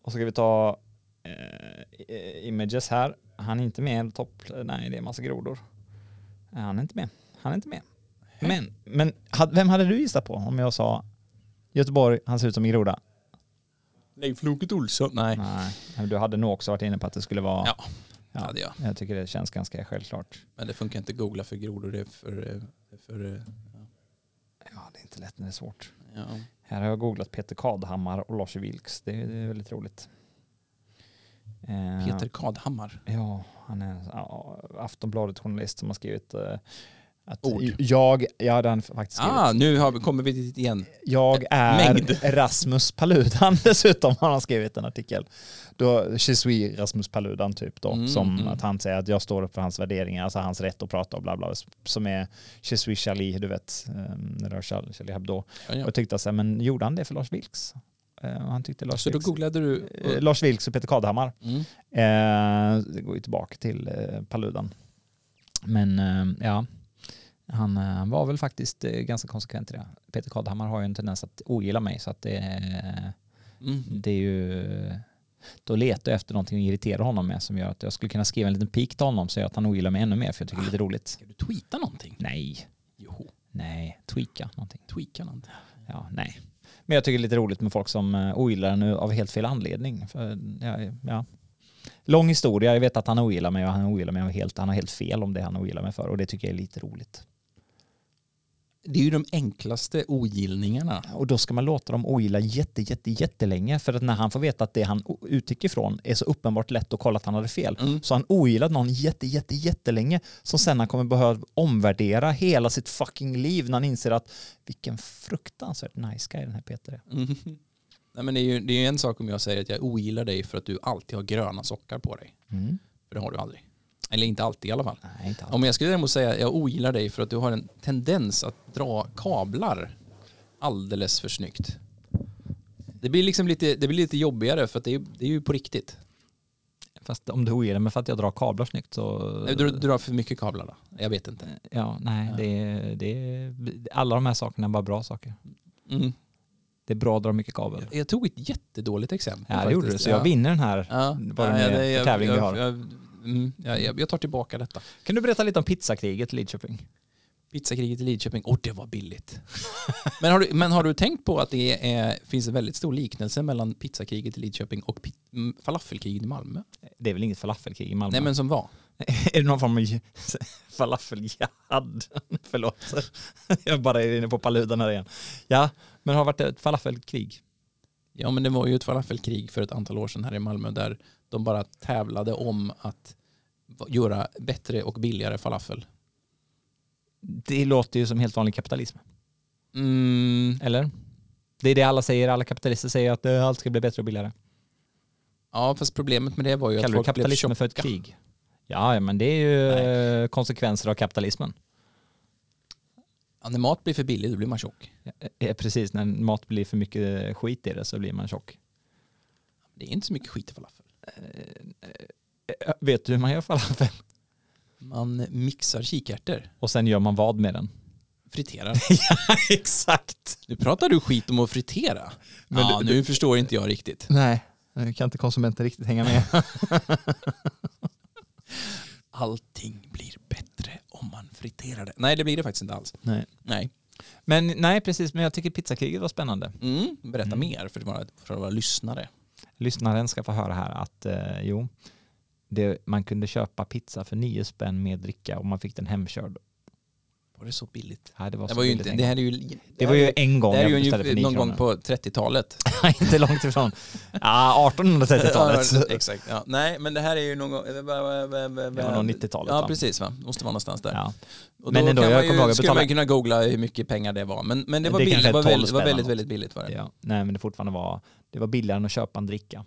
Och så ska vi ta eh, i- images här. Han är inte med. Topp, nej, det är massa grodor. Nej, Han är inte med. Han är inte med. Men, men had, vem hade du gissat på om jag sa Göteborg, han ser ut som en groda?
Leif Loket Olsson. Mm. Nej.
Nej, men du hade nog också varit inne på att det skulle vara...
Ja. ja, det är jag.
Jag tycker det känns ganska självklart.
Men det funkar inte att googla för grodor. Det är för... eh, det är för eh,
Ja, det är inte lätt när det är svårt.
ja.
Här har jag googlat Peter Kadhammar och Lars Vilks. Det är, det är väldigt roligt. Eh,
Peter Kadhammar.
Ja, han är en ja, Aftonbladet-journalist som har skrivit eh, att
Ord.
jag, jag hade han faktiskt skrivit.
Ah, nu har vi, kommer vi dit igen.
Jag är
mängd.
Rasmus Paludan <laughs> dessutom har han skrivit en artikel. Då, Je suis Rasmus Paludan typ då,
Mm,
som
mm.
att han säger att jag står upp för hans värderingar, alltså hans rätt att prata och bla bla, som är Je suis Charlie, du vet, eh, när det var Charlie, Charlie Hebdo.
Ja, ja.
Och tyckte så här, men gjorde han det för Lars Vilks? Eh, och han tyckte Lars
Så då
Vilks,
googlade du...
eh, Lars Vilks och Peter Kadhammar.
Mm.
Eh, det går ju tillbaka till eh, Paludan. Men eh, ja, han eh, var väl faktiskt eh, ganska konsekvent i det. Peter Kadhammar har ju en tendens att ogilla mig så att det, eh,
Mm.
det är ju... Då letar jag efter någonting att irritera honom med som gör att jag skulle kunna skriva en liten pik till honom så att han ogillar mig ännu mer för jag tycker det är lite roligt.
Ska du tweeta någonting?
Nej,
Jo,
nej, tweaka någonting.
tweaka någonting.
Ja, nej. Men jag tycker det är lite roligt med folk som eh, ogillar nu av helt fel anledning. För, ja, ja. Lång historia, jag vet att han ogillar mig och han ogillar mig av helt, han har helt fel om det han ogillar mig för och det tycker jag är lite roligt.
det är ju de enklaste ogillningarna.
Och då ska man låta dem ogilla jätte, jätte, jättelänge. För att när han får veta att det han o- utgick ifrån är så uppenbart lätt att kolla att han hade fel.
Mm.
Så han ogillat någon jätte, jätte, jättelänge. Som sen han kommer behöva omvärdera hela sitt fucking liv när han inser att vilken fruktansvärt nice guy den här Peter är.
Mhm. Nej, men det, är ju, det är ju en sak om jag säger att jag ogillar dig för att du alltid har gröna sockar på dig.
Mm.
För det har du aldrig. Eller inte alltid i alla fall.
Nej, inte alls.
Om jag skulle däremot säga att jag ogillar dig för att du har en tendens att dra kablar alldeles för snyggt. Det blir liksom lite, det blir lite jobbigare för att det är, det är ju på riktigt.
Fast om du ogillar mig för att jag drar kablar snyggt så...
Du, du drar för mycket kablar då? Jag vet inte.
Ja, nej, det, det, alla de här sakerna är bara bra saker.
Mm.
Det är bra att dra mycket kabel.
Jag tog ett jättedåligt exempel.
Ja, det gjorde du.
faktiskt.
Så jag
Ja.
vinner den här
Ja.
vad det nu är
det-
för
jag-
tävling vi
jag-
har.
Jag, mm, jag, jag, jag tar tillbaka detta.
Kan du berätta lite om pizzakriget i Lidköping?
Pizzakriget i Lidköping, åh det
<laughs>
var billigt. men, har du, men har du tänkt på att det är, finns en väldigt stor liknelse mellan pizzakriget i Lidköping och pi- mm, falafelkriget i Malmö?
Det är väl inget falafelkrig i Malmö?
Nej men som var.
är det någon form av j- <laughs> falafeljihad? <laughs> Förlåt. Jag bara är inne på paludan här igen. Ja, men har det varit ett falafelkrig?
Ja men det var ju ett falafelkrig för ett antal år sedan här i Malmö där de bara tävlade om att va- göra bättre och billigare falafel.
Det låter ju som helt vanlig kapitalism.
Mm,
Eller? Det är det alla säger. Alla kapitalister säger att eh, allt ska bli bättre och billigare.
ja fast problemet med det var ju att
Kallar du
folk blev
kapitalismen
tjocka.
för ett krig? Ja, ja, men det är ju eh, konsekvenser av kapitalismen.
Ja, när mat blir för billigt då blir man tjock.
Ja, eh, precis, när mat blir för mycket skit i det så blir man tjock.
Det är inte så mycket skit i falafel.
Eh, Vet du hur man gör falafel?
Man mixar kikärtor,
Och sen gör man vad med den?
friterar.
<laughs> Exakt!
Nu pratar du skit om att fritera.
Men
ja,
du-
nu förstår inte jag riktigt.
Nej, nu kan inte konsumenten riktigt hänga med.
Allting blir bättre om man friterar det. Nej, det blir det faktiskt inte alls.
<laughs> nej.
Nej.
Men nej, precis, men jag tycker pizzakriget var spännande.
Mm, berätta mer för våra, för våra lyssnare.
Lyssnaren ska få höra här att eh, jo, det, man kunde köpa pizza för nio spänn med dricka och man fick den hemkörd.
Var det så billigt?
Nej, det var,
Det
så
var ju
billigt
inte,
en
det
gång.
här är ju...
det var ju en gång
det här är
jag
ju
beställde för
ungefär
nio
någon gång
kronor.
på
<laughs>
30-talet.
inte långt ifrån. Ja, 1830-talet.
Ja, <laughs> Exakt. Ja. Nej, men det här är ju någon gång... Det
var nog 90-talet,
Ja,
va?
precis. Va? Måste vara någonstans där.
Ja.
Och
Men
då
ändå,
kan
jag
man ju,
kommer ihåg att
skulle man
betala-
ju kunna googla hur mycket pengar det var. Men, men det var
Det är
billigt.
kanske
Det var
12
väldigt, det var
spänn eller
väldigt,
något.
väldigt billigt var det.
Ja. Nej, men det fortfarande var, det var billigare än att köpa en dricka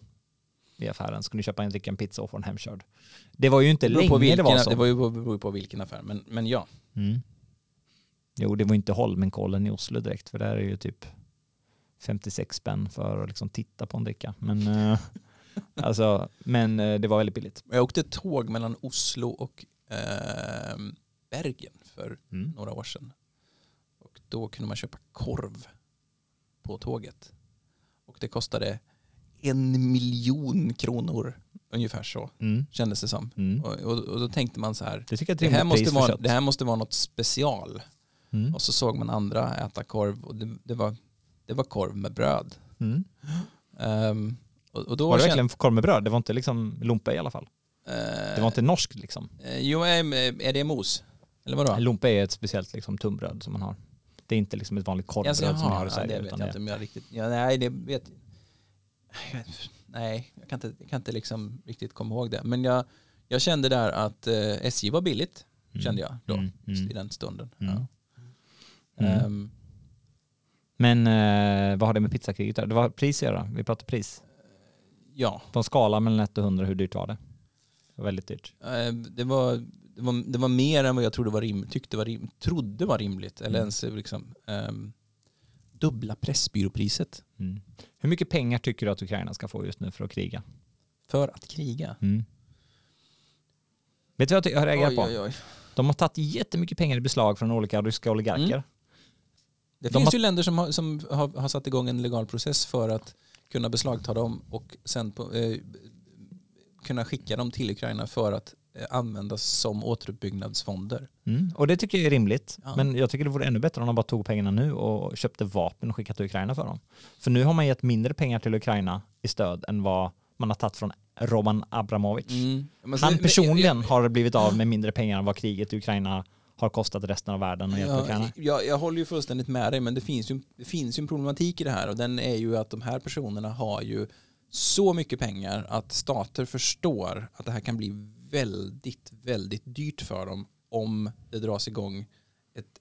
i affären. Skulle du köpa en dricka, en pizza och få den hemkörd. Det var ju inte
beror på
länge
vilken,
det var så.
Det var ju på, beror på vilken affär, men, men ja.
Mm. Jo, det var inte Holmenkollen i Oslo direkt, för där är ju typ 56 spänn för att liksom titta på en dricka. Men, eh, <laughs> alltså, men eh, det var väldigt billigt.
Jag åkte tåg mellan Oslo och ehm, Bergen för
Mm.
några år sedan. Och då kunde man köpa korv på tåget. Och det kostade en miljon kronor, ungefär så
Mm.
kändes det som.
Mm.
Och, och, och då tänkte man så här,
Det tycker jag är ett
det här,
rimligt
måste
pris för
vara,
kött.
det här måste vara något special.
Mm.
Och så såg man andra äta korv och det, det, var, det var korv med bröd.
Mm.
Ehm, och, och då
Var det
kände-
verkligen korv med bröd? Det var inte liksom lumpa i alla fall.
Eh,
Det var inte norskt liksom.
Eh, Jo, eh, är det mos? Eller vadå?
Lumpa är ett speciellt liksom, tunnbröd som man har. Det är inte liksom ett vanligt korvbröd
Alltså,
som
jaha,
man har i
ja,
Sverige.
det vet
utan
jag
det-
inte om jag riktigt... Ja, nej, det vet Nej, jag kan inte, jag kan inte liksom riktigt komma ihåg det. Men jag, jag kände där att eh, SJ var billigt,
Mm.
kände jag då,
Mm, mm.
i den stunden.
Mm.
Ja.
Mm.
Ehm,
Men eh, vad har det med pizzakriget att göra? Det var pris att göra. Vi pratade pris.
ja,
På en skala mellan 1 och 100, hur dyrt var det? Det var väldigt dyrt.
eh, det var, det, var, det var mer än vad jag trodde var rim, tyckte var rim, trodde var rimligt. Eller
Mm.
ens liksom, ehm, dubbla Pressbyråpriset
Mm. Hur mycket pengar tycker du att Ukraina ska få just nu för att kriga?
för att kriga.
Mm. Vet du vad jag ty- jag reagerar på?
Oj, oj, oj.
De har tagit jättemycket pengar i beslag från olika ryska oligarker.
Mm.
De
Det finns
har-
ju länder som, har, som har, har satt igång en legal process för att kunna beslagta dem och sen på, eh, kunna skicka dem till Ukraina för att eh, användas som återuppbyggnadsfonder.
Mm. Och det tycker jag är rimligt.
Ja.
Men jag tycker det vore ännu bättre om de bara tog pengarna nu och köpte vapen och skickat till Ukraina för dem. För nu har man gett mindre pengar till Ukraina i stöd än vad man har tagit från Roman Abramovich.
Men-
Han
Mm. men-
personligen har blivit av med mindre pengar än vad kriget i Ukraina har kostat resten av världen att hjälpa
Jag,
ukrainarna.
jag, jag håller ju fullständigt med dig men det finns, ju, det finns ju en problematik i det här och den är ju att de här personerna har ju så mycket pengar att stater förstår att det här kan bli väldigt, väldigt dyrt för dem om det dras igång ett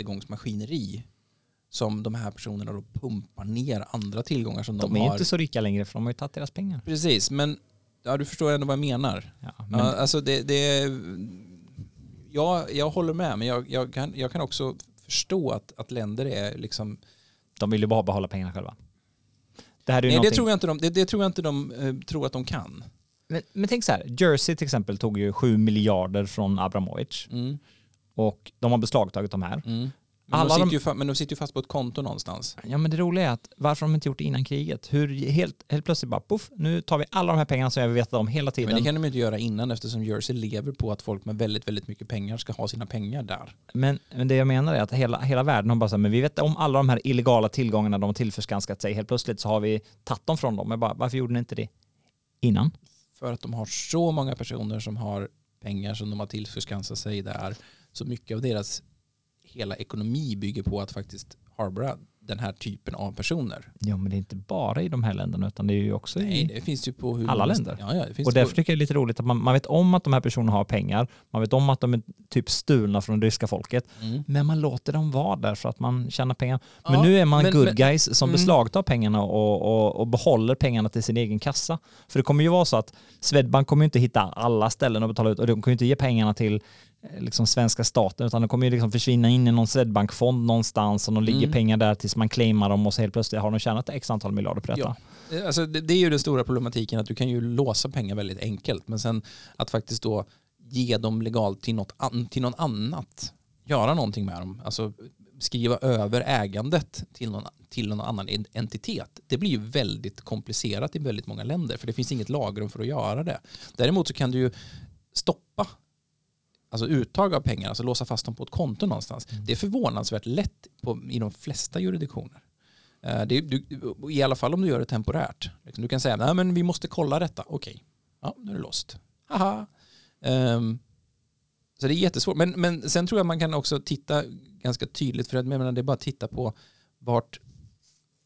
rättegångsmaskineri som de här personerna då pumpar ner andra tillgångar som de,
De är ju
har.
inte så rika längre för de har ju tagit deras pengar.
Precis, men ja, du förstår ändå vad jag menar.
Ja, men,
Ja, alltså det, det ja, jag håller med, men jag, jag, kan, jag kan också förstå att, att länder är liksom...
De vill ju bara behålla pengarna själva. Det här är ju
Nej, det
någonting-
tror jag inte de, det, det tror, jag inte de eh, tror att de kan.
men, men tänk så här, Jersey till exempel tog ju 7 miljarder från Abramovich
Mm,
och de har beslagtagit de här.
mm. Men,
Alla
de sitter
de-
ju fa- men de sitter ju fast på ett konto någonstans.
Ja men det roliga är att varför har de inte gjort det innan kriget? Hur helt, helt plötsligt bara poff, nu tar vi alla de här pengarna som jag vetat om hela tiden.
Men det kan de ju inte göra innan eftersom Jersey lever på att folk med väldigt, väldigt mycket pengar ska ha sina pengar där.
Men, men det jag menar är att hela, hela världen har bara sagt, men vi vet om alla de här illegala tillgångarna de har tillförskanskat sig, helt plötsligt så har vi tagit dem från dem. Men bara, varför gjorde ni inte det innan?
För att de har så många personer som har pengar som de har tillförskansat sig där. Så mycket av deras hela ekonomi bygger på att faktiskt harbora den här typen av personer.
Jo, men det är inte bara i de här länderna, utan det är ju också
Nej,
i...
det finns ju på hur
Alla
många-
länder.
Ja, ja, det finns
Och
det
därför
på,
tycker jag det är lite roligt att man, man vet om att de här personerna har pengar, man vet om att de är typ stulna från det ryska folket,
mm.
men man låter dem vara där för att man tjänar pengar. Men
Ja,
nu är man
men-
good
men-
guys som
mm.
beslagtar pengarna och, och, och behåller pengarna till sin egen kassa. För det kommer ju vara så att Swedbank kommer ju inte hitta alla ställen att betala ut och de kommer ju inte ge pengarna till eh, liksom svenska staten utan de kommer ju liksom försvinna in i någon Swedbank-fond någonstans och de ligger
Mm.
pengar där tills man claimar dem och så helt plötsligt har de tjänat x antal miljarder på detta.
Ja. Eh, Alltså, det, det är ju den stora problematiken att du kan ju låsa pengar väldigt enkelt men sen att faktiskt då ge dem legalt till, något an, till någon annat. Göra någonting med dem. Alltså skriva över ägandet till någon, till någon annan en- entitet. Det blir ju väldigt komplicerat i väldigt många länder för det finns inget lagrum för att göra det. Däremot så kan du ju stoppa alltså uttag av pengar, alltså låsa fast dem på ett konto någonstans. Det är förvånansvärt lätt på, i de flesta jurisdiktioner. Eh, Det, är- du, I alla fall om du gör det temporärt. Liksom, Du kan säga, nej men vi måste kolla detta. Okej, ja, nu är det låst. Haha. Ehm, så det är jättesvårt. Men, men sen tror jag man kan också titta ganska tydligt, för att, jag menar, det är bara att titta på vart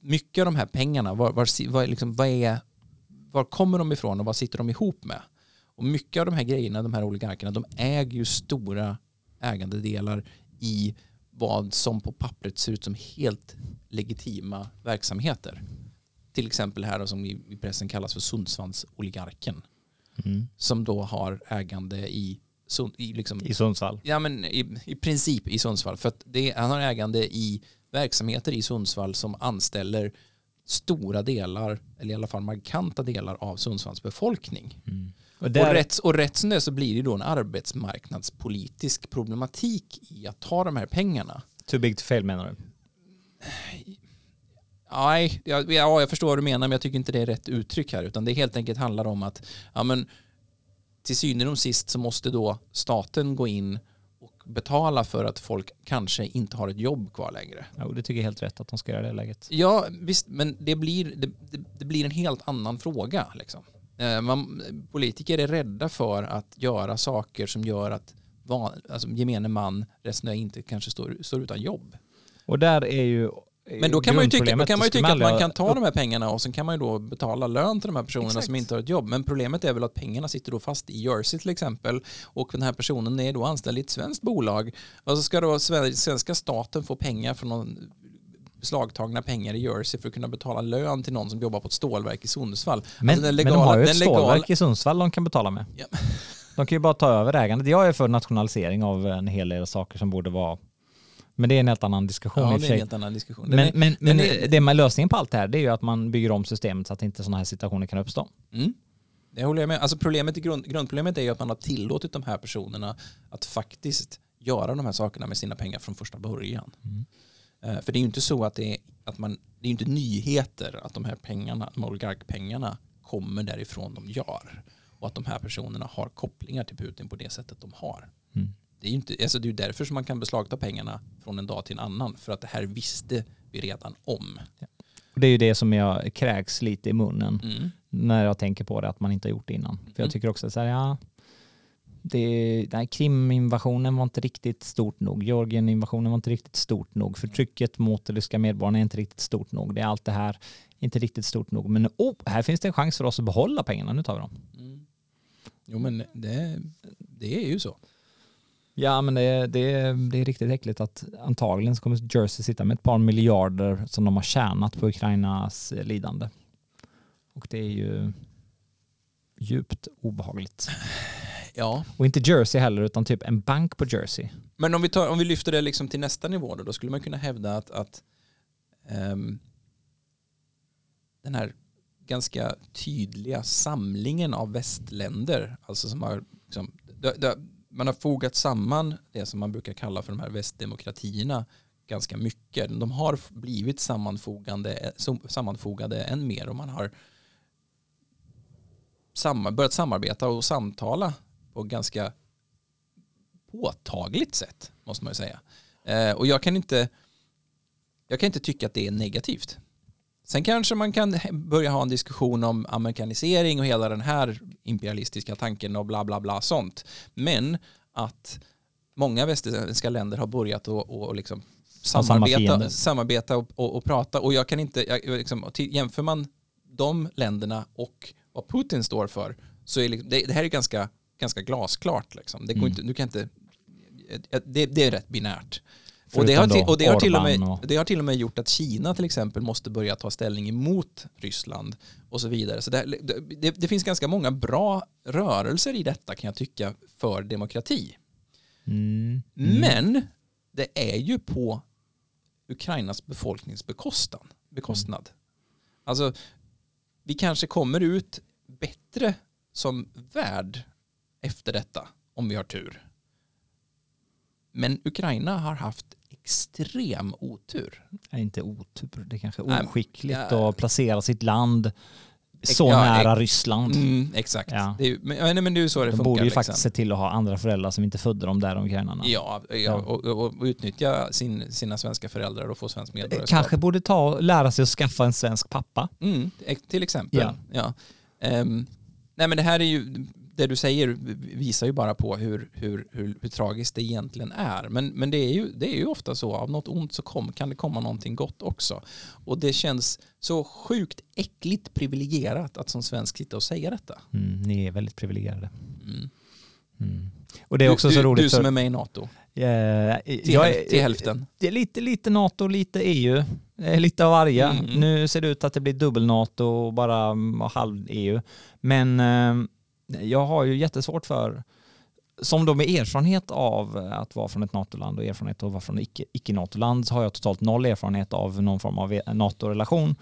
mycket av de här pengarna, var, var, si- vad är liksom, vad är, var kommer de ifrån och vad sitter de ihop med? Och mycket av de här grejerna, de här oligarkerna, de äger ju stora ägandedelar i vad som på pappret ser ut som helt legitima verksamheter. Till exempel här då, som i i pressen kallas för Sundsvallsoligarken.
Mm.
Som då har ägande i, Sund- i liksom
I Sundsvall.
Ja men i, i princip i Sundsvall. För att det, han har ägande i verksamheter i Sundsvall som anställer stora delar, eller i alla fall markanta delar av Sundsvalls befolkning.
Och
Mm. Och
där,
rätt, och rätt som det är så blir det då en arbetsmarknadspolitisk problematik i att ta de här pengarna.
too big to fail menar du?
Nej, jag, ja, jag förstår vad du menar men jag tycker inte det är rätt uttryck här utan det helt enkelt handlar om att ja, men, till synen och sist så måste då staten gå in och betala för att folk kanske inte har ett jobb kvar längre.
Jo, det tycker jag är helt rätt att de ska göra i det läget.
Ja, visst, men det blir, det, det, det blir en helt annan fråga. Liksom. Eh, Man, politiker är rädda för att göra saker som gör att van, alltså, gemene man, resten av inte kanske står, står utan jobb.
Och där är ju
Men då kan man ju tycka, då
grundproblemet,
kan man ju
skulle
tycka att
aldrig
man
ha-
kan ta de här pengarna och sen kan man ju då betala lön till de här personerna som
Exakt.
inte har ett jobb. Men problemet är väl att pengarna sitter då fast i Jersey till exempel och den här personen är då anställd i ett svenskt bolag. Och så ska då sve- svenska staten få pengar från någon beslagtagna pengar i Jersey för att kunna betala lön till någon som jobbar på ett stålverk i Sundsvall.
Men,
Alltså, den
men de
legala-
har ju ett
den legala-
stålverk i Sundsvall de kan betala med.
Ja.
<laughs> De kan ju bara ta över ägandet. Jag är för nationalisering av en hel del saker som borde vara... Men det är en helt annan diskussion i
Ja,
och
det
för
är
sig.
en helt annan diskussion. Den
Men,
är-
men, men
den är-
det med lösningen på allt det här det är ju att man bygger om systemet så att inte sådana här situationer kan uppstå.
Mm. Det håller jag med. Alltså problemet, i grund, grundproblemet är ju att man har tillåtit de här personerna att faktiskt göra de här sakerna med sina pengar från första början. Eh, För det är ju inte så att det är, att man, det är ju inte nyheter att de här pengarna, de här oligarkpengarna kommer därifrån de gör. Och att de här personerna har kopplingar till Putin på det sättet de har.
Mm.
Det är ju inte, alltså det är ju därför som man kan beslagta pengarna från en dag till en annan. För att det här visste vi redan om.
Och det är ju det som jag kräks lite i munnen
Mm.
när jag tänker på det, att man inte har gjort det innan. För jag tycker också så här, ja, det, nej, Kriminvasionen var inte riktigt stort nog. Georgieninvasionen var inte riktigt stort nog. Förtrycket mot de ryska medborgarna är inte riktigt stort nog. Det är allt det här inte riktigt stort nog. Men oh, här finns det en chans för oss att behålla pengarna. Nu tar vi dem.
Mm. Jo men det, det är ju så.
Ja, men det, det, det är riktigt äckligt att antagligen så kommer Jersey sitta med ett par miljarder som de har tjänat på Ukrainas eh, lidande. Och det är ju djupt obehagligt.
Ja.
Och inte Jersey heller, utan typ en bank på Jersey.
Men om vi, tar, om vi lyfter det liksom till nästa nivå då, då skulle man kunna hävda att, att ehm, den här ganska tydliga samlingen av västländer, alltså som har, liksom, det, det, man har fogat samman det som man brukar kalla för de här västdemokratierna ganska mycket. De har blivit sammanfogande, eh, som- sammanfogade än mer och man har samma- börjat samarbeta och samtala på ganska påtagligt sätt, måste man ju säga. Eh, och jag kan inte jag kan inte tycka att det är negativt. Sen kanske man kan he- börja ha en diskussion om amerikanisering och hela den här imperialistiska tanken och bla bla bla sånt. Men att många västerländska länder har börjat att och, och liksom
samma
samarbeta,
fiender.
samarbeta och, och, och prata. Och jag kan inte, jag, jag liksom, till- jämför man de länderna och vad Putin står för så är liksom, det, det här är ganska, ganska glasklart. Liksom. Det går
Mm.
inte, du kan inte, det, det är rätt binärt. Och
Förutom
det, har till,
då
och, det har till och,
Orbán
med,
och-
det har till och med gjort att Kina till exempel måste börja ta ställning emot Ryssland och så vidare. Så det, här- det- det, det finns ganska många bra rörelser i detta kan jag tycka för demokrati.
Mm.
Men det är ju på Ukrainas befolknings bekostan, bekostnad.
Mm.
Alltså, vi kanske kommer ut bättre som värld efter detta, om vi har tur. Men Ukraina har haft extrem otur.
Är inte otur, det är kanske
Nej, men-
oskickligt
ja.
att placera sitt land så
Ja,
nära
ex-
Ryssland.
Mm, exakt.
Ja.
Det är, ju- men, ja, nej, men det är ju så det
De
funkar.
borde ju
liksom.
faktiskt se till att ha andra föräldrar som inte födde dem där, de ukrainarna.
Ja, ja och, och, och utnyttja sin, sina svenska föräldrar och få svenskt medborgarskap.
Eh, Kanske borde ta och lära sig att skaffa en svensk pappa.
Mm, ex- till exempel. Ja.
Ja.
Ehm, nej men det här är ju, det du säger visar ju bara på hur, hur, hur, hur tragiskt det egentligen är. Men, men det, är ju, det är ju ofta så, av något ont så kom, kan det komma någonting gott också. Och det känns så sjukt äckligt privilegierat att som svensk sitta och säga detta.
Mm, ni är väldigt privilegierade.
Mm.
Mm. Och det är också
du,
så
du,
roligt.
Du som
för-
är med i NATO,
Eh,
till,
jag
häl- till hälften.
Det är lite, lite NATO, lite EU. Eh, Lite av varje.
Mm.
Nu ser det ut att det blir dubbel-NATO och bara mm, och halv-EU. Men eh, jag har ju jättesvårt för, som då med erfarenhet av eh, att vara från ett NATO-land och erfarenhet av att vara från icke- icke-NATO-land så har jag totalt noll erfarenhet av någon form av e-, NATO-relation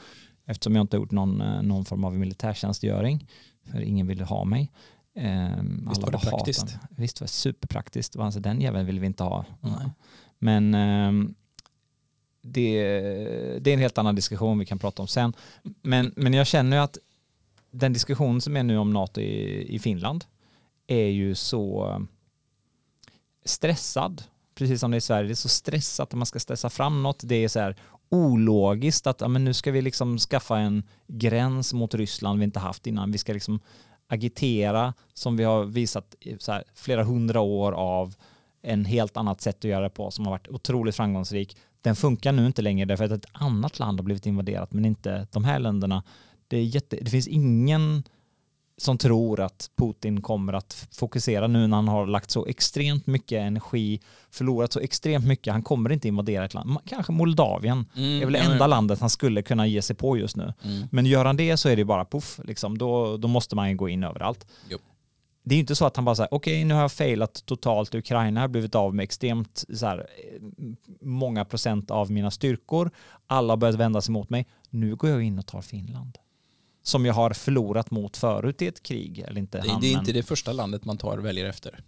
eftersom jag inte har gjort någon, eh, någon form av militärtjänstgöring. För ingen ville ha mig. Ehm,
Visst
alla
var det
hatar mig.
praktiskt?
Visst var det superpraktiskt. Alltså, den jäveln vill vi inte ha.
Nej.
Men ehm, det, det är en helt annan diskussion vi kan prata om sen. Men, men jag känner ju att den diskussion som är nu om NATO i, i Finland är ju så ehm, stressad. Precis som det är i Sverige, det är så stressat att man ska stressa fram något. Det är så här ologiskt att ja, men nu ska vi liksom skaffa en gräns mot Ryssland vi inte haft innan. Vi ska liksom agitera som vi har visat i så här, flera hundra år av en helt annat sätt att göra det på som har varit otroligt framgångsrik. Den funkar nu inte längre därför att ett annat land har blivit invaderat men inte de här länderna. Det, är jätte, det finns ingen som tror att Putin kommer att f- fokusera nu när han har lagt så extremt mycket energi, förlorat så extremt mycket. Han kommer inte invadera ett land. Ma- Kanske Moldavien
Mm,
är väl det
ja, men-
enda landet han skulle kunna ge sig på just nu.
Mm.
Men gör han det så är det bara puff, liksom. då, då måste man ju gå in överallt.
Jo.
Det är ju inte så att han bara säger, okej nu har jag failat totalt, Ukraina har blivit av med extremt så här, eh, många procent av mina styrkor, alla har börjat vända sig mot mig, nu går jag in och tar Finland. Som jag har förlorat mot förut i ett krig, eller inte
Det,
han,
det är
men-
inte det första landet man tar och väljer efter.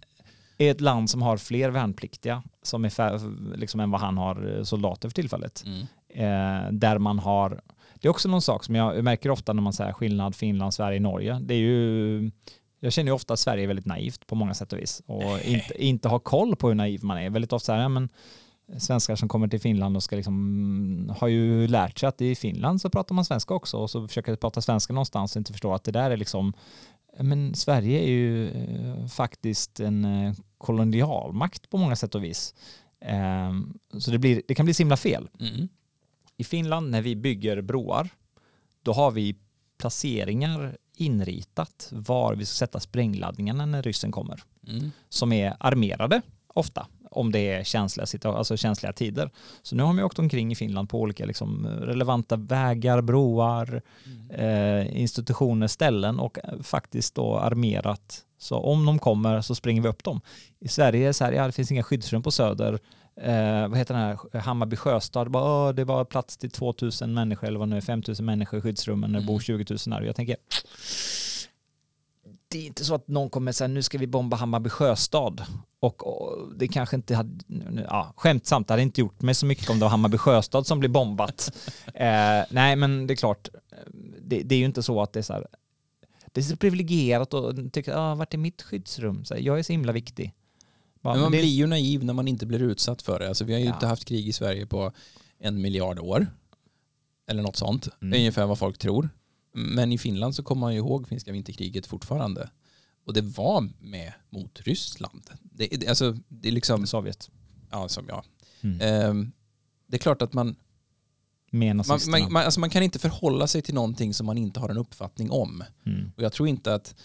är ett land som har fler värnpliktiga som är fär- liksom än vad han har eh, soldater för tillfället.
Mm.
Eh, där man har, det är också någon sak som jag märker ofta när man säger skillnad Finland, Sverige, Norge. Det är ju, jag känner ju ofta att Sverige är väldigt naivt på många sätt och vis och inte, inte har koll på hur naiv man är. Väldigt ofta så här, ja, men svenskar som kommer till Finland och ska liksom, har ju lärt sig att i Finland så pratar man svenska också och så försöker prata svenska någonstans och inte förstår att det där är liksom Men Sverige är ju eh, faktiskt en eh, kolonialmakt på många sätt och vis. Ehm, så det, blir, det kan bli så himla fel.
Mm.
I Finland när vi bygger broar, då har vi placeringar inritat var vi ska sätta sprängladdningarna när ryssen kommer.
Mm.
Som är armerade ofta, om det är känsliga, situa- alltså känsliga tider. Så nu har man ju åkt omkring i Finland på olika liksom, relevanta vägar, broar, eh, institutioner, ställen och eh, faktiskt då armerat. Så om de kommer så springer vi upp dem. I Sverige är det så här, ja det finns inga skyddsrum på Söder. Eh, vad heter den här, Hammarby sjöstad, bara, "Åh, det var plats till 2000 människor eller vad nu är, 5000 människor i skyddsrummen när det bor 20
Mm.
000 här. Och jag tänker, det är inte så att någon kommer säga nu ska vi bomba Hammarby sjöstad. Och, och det kanske inte hade, ja, skämtsamt, det hade inte gjort mig så mycket om det var Hammarby sjöstad som blev bombat. Eh, nej, men det är klart, det, det är ju inte så att det är så här, det är så privilegierat och tycker, ah, vart är mitt skyddsrum? Så här, jag är så himla viktig. Bara,
men man
det,
blir ju naiv när man inte blir utsatt för det. Alltså, vi har ju
Ja.
inte haft krig i Sverige på en miljard år. Eller något sånt.
Mm.
Det är ungefär vad folk tror. Men i Finland så kommer man ju ihåg finska vinterkriget fortfarande. Och det var med mot Ryssland. Det, det, alltså, det är liksom,
Sovjet.
ja, som jag.
Mm.
Ehm, det är klart att man,
Med
man,
nazisterna.
man, man, alltså man kan inte förhålla sig till någonting som man inte har en uppfattning om.
mm.
Och jag tror inte att,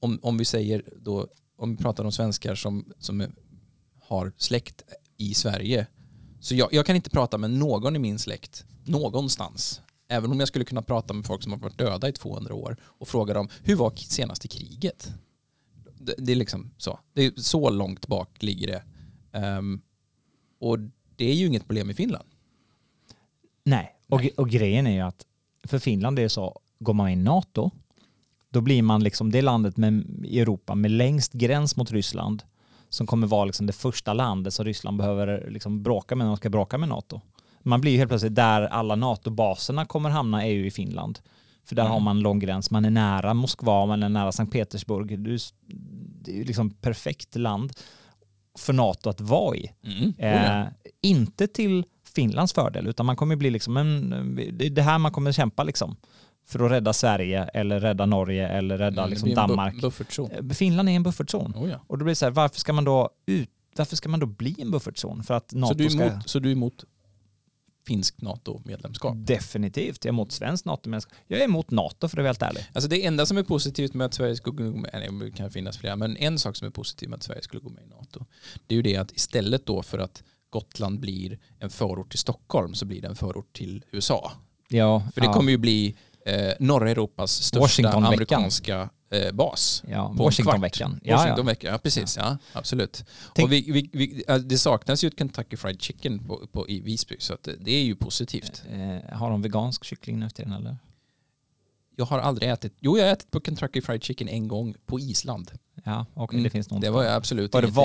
om, om vi säger då, om vi pratar om svenskar som, som är- har släkt i Sverige, så jag, jag kan inte prata med någon i min släkt någonstans. Även om jag skulle kunna prata med folk som har varit döda i 200 år och fråga dem, hur var k- senaste kriget? Det, det är liksom så. Det är så långt bak ligger det. Ehm, och det är ju inget problem i Finland.
Nej, och,
Nej.
och grejen är ju att för Finland är det så, går man in i NATO, då blir man liksom det landet med, i Europa med längst gräns mot Ryssland som kommer vara liksom det första landet som Ryssland behöver liksom bråka med när de ska bråka med NATO. Man blir ju helt plötsligt där alla NATO-baserna kommer hamna är ju i Finland. För där
Mm.
har man lång gräns, man är nära Moskva, man är nära Sankt Petersburg. Du, det är ju liksom perfekt land för NATO att vara i.
Mm.
Eh, inte till Finlands fördel, utan man kommer bli liksom en, det är det här man kommer kämpa liksom. För att rädda Sverige eller rädda Norge eller rädda
Mm,
liksom Danmark.
Buffertzon.
Eh, Finland är en buffertzon.
Oh, ja.
Och då blir det så här, varför ska man då ut, varför ska man då bli en buffertzon? För att
Så
NATO
du är
ska...
emot, så du är emot finskt NATO-medlemskap?
Definitivt, jag är emot svenskt NATO. Jag är emot NATO för att vara helt ärlig.
Alltså det enda som är positivt med att Sverige skulle gå med, nej, det kan finnas flera, men en sak som är positiv med att Sverige skulle gå med i NATO, det är ju det att istället då för att Gotland blir en förort till Stockholm så blir det en förort till USA.
Ja,
För det kommer ju bli eh, norra Europas största
Washingtonveckan.
amerikanska eh, bas.
ja,
på en
Washingtonveckan.
kvart.
Ja, ja.
Washingtonveckan, ja. precis. Ja, absolut.
Tänk-
Och vi, vi, vi, äh, det saknas ju ett Kentucky Fried Chicken på, på, i Visby så att det- det är ju positivt.
Eh, har de vegansk kyckling nu efter den eller?
Jag har aldrig ätit, jo jag har ätit på Kentucky Fried Chicken en gång på Island.
Ja, okej
Mm,
det finns nog
Det
inte.
var ju absolut
Var det
ingenting.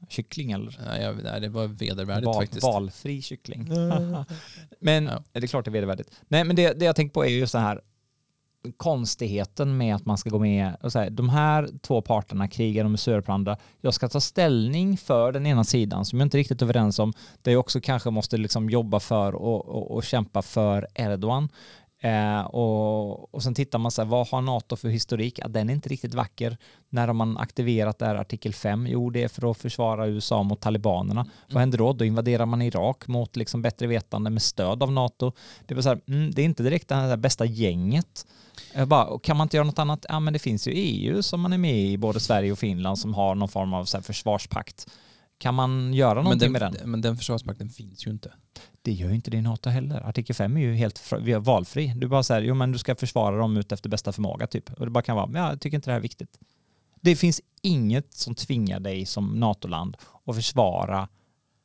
valkyckling eller?
Nej, jag, nej, det var vedervärdigt
Val-
faktiskt. <laughs> Mm.
Valfri kyckling. men
Ja.
det är klart det är vedervärdigt. Nej, men det, det jag tänkt på är ju så här konstigheten med att man ska gå med och säga de här två parterna krigar de är sura på varandra. Jag ska ta ställning för den ena sidan som jag inte riktigt är överens om. Där jag också kanske måste liksom jobba för och, och, och kämpa för Erdogan. Eh, och, och sen tittar man så här, vad har NATO för historik? Ja, den är inte riktigt vacker. När har man aktiverat det här artikel 5? Jo, det är för att försvara USA mot talibanerna. Vad händer då? Då invaderar man Irak mot liksom bättre vetande med stöd av NATO. Det är, bara så här, mm, det är inte direkt det här bästa gänget. Jag bara, och kan man inte göra något annat? Ja, men det finns ju EU som man är med i, både Sverige och Finland, som har någon form av så här försvarspakt. Kan man göra
men,
någonting
den,
med den?
men den försvarspakten finns ju inte.
Det gör ju inte det i NATO heller. Artikel 5 är ju helt fr- vi är valfri. Du bara säger, jo men du ska försvara dem ut efter bästa förmåga typ. Och det bara kan vara, ja, jag tycker inte det här är viktigt. Det finns inget som tvingar dig som NATO-land att försvara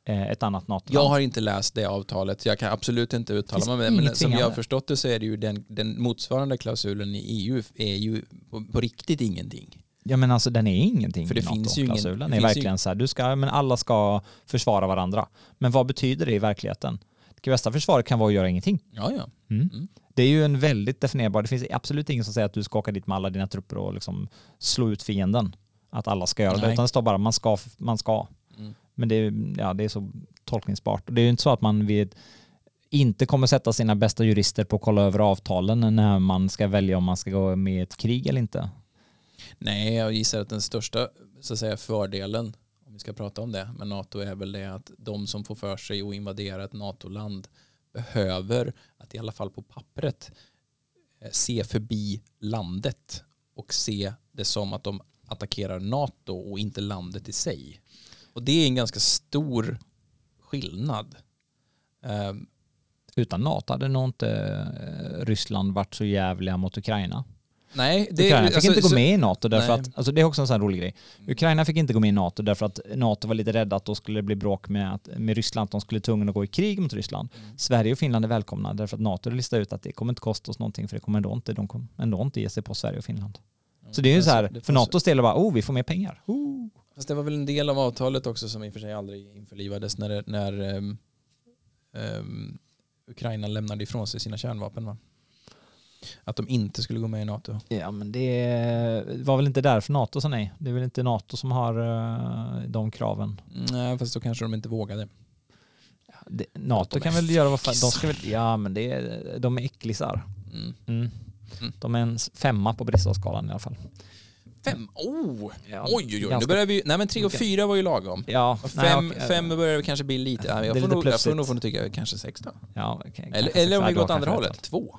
eh, ett annat NATO-land.
Jag har inte läst det avtalet, jag kan absolut inte
Finns
uttala mig om det, men
inget
som jag har
tvingande.
förstått det så är det ju den, den motsvarande klausulen i EU är ju på, på riktigt ingenting.
Ja men alltså den är ingenting
För det
i
finns ju ingen-
NATO-klausulen. Det
det
är
finns ju
verkligen så här, du ska, men alla ska försvara varandra. Men vad betyder det i verkligheten? Det bästa försvaret kan vara att göra ingenting.
Ja, ja.
Mm.
Mm.
Det är ju en väldigt definierbar, det finns absolut ingen som säger att du ska åka dit med alla dina trupper och liksom slå ut fienden. Att alla ska göra
Nej.
det, utan det står bara man ska. Man ska.
Mm.
Men det är, ja, det är så tolkningsbart. Och det är ju inte så att man vid, inte kommer sätta sina bästa jurister på att kolla över avtalen när man ska välja om man ska gå med i ett krig eller inte.
Nej, jag gissar att den största så att säga, fördelen, om vi ska prata om det, med NATO är väl det att de som får för sig att invadera ett NATO-land behöver att i alla fall på pappret eh, se förbi landet och se det som att de attackerar NATO och inte landet i sig. Och det är en ganska stor skillnad. Eh,
Utan NATO hade nog inte eh, Ryssland varit så jävliga mot Ukraina.
nej, det
Ukraina fick
alltså,
inte gå
så-
med i NATO därför
Nej.
att, alltså det är också en sån här rolig grej. Ukraina fick inte gå med i NATO därför att NATO var lite rädda att då skulle det bli bråk med, att, med Ryssland, att de skulle tvungna att gå i krig mot Ryssland.
Mm.
Sverige och Finland är välkomna därför att NATO listade ut att det kommer inte kosta oss någonting för det kommer ändå inte, de kommer ändå inte ge sig på Sverige och Finland. Så det är ju
Alltså,
så här, för
det får-
NATOs del är bara, oh vi får mer pengar. Oh.
Fast det var väl en del av avtalet också som i och för sig aldrig införlivades när, det- när ehm, ehm, Ukraina lämnade ifrån sig sina kärnvapen. Va? Att de inte skulle gå med i NATO.
Ja men det var väl inte därför NATO sa nej. Det är väl inte NATO som har eh, de kraven.
Nej, fast då kanske de inte vågade.
Det, NATO
de är
kan väl göra vad fan, de ska väl, ja men det är, de är äcklisar.
Mm.
Mm.
Mm.
De är en s- femma på Bristaskalan i alla fall.
Fem, oh!
Ja,
Oj, oj, oj. Nu
ganska-
börjar vi, nej men tre och fyra var ju lagom.
Ja,
Och
nej,
fem,
okej.
fem börjar vi kanske bli lite, ja,
Det är
jag, får
lite
nog, jag får
plötsligt.
nog får nog tycka kanske sex då.
Ja, okej, kanske
Eller,
sex.
eller om
Ja,
vi
då
går åt andra
kanske
hållet,
rätt.
två.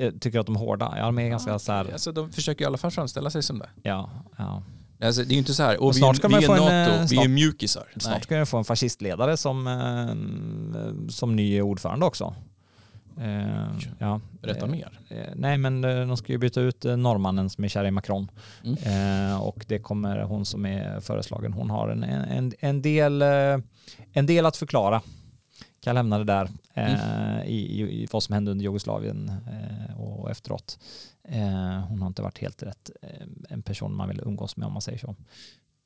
Jag tycker att de är hårda. Ja, de är ganska så här,
Alltså, de försöker ju i alla fall framställa sig som det.
ja, ja.
Alltså, det är ju inte så här,
Men
och vi,
snart ska
vi
man
är
få en,
NATO,
eh,
vi är
snart-
mjukisar. Nej.
Snart ska jag få en fascistledare som, eh, som ny ordförande också. Eh, ja.
Berätta
Eh,
mer.
eh, Nej, men eh, de ska ju byta ut eh, norrmannen som är kär i Macron.
Mm.
Eh, och det kommer hon som är föreslagen. Hon har en, en, en, del, eh, en del att förklara. Kan jag lämna det där eh, i, i, i vad som hände under Jugoslavien eh, och efteråt. Eh, hon har inte varit helt rätt eh, en person man vill umgås med om man säger så.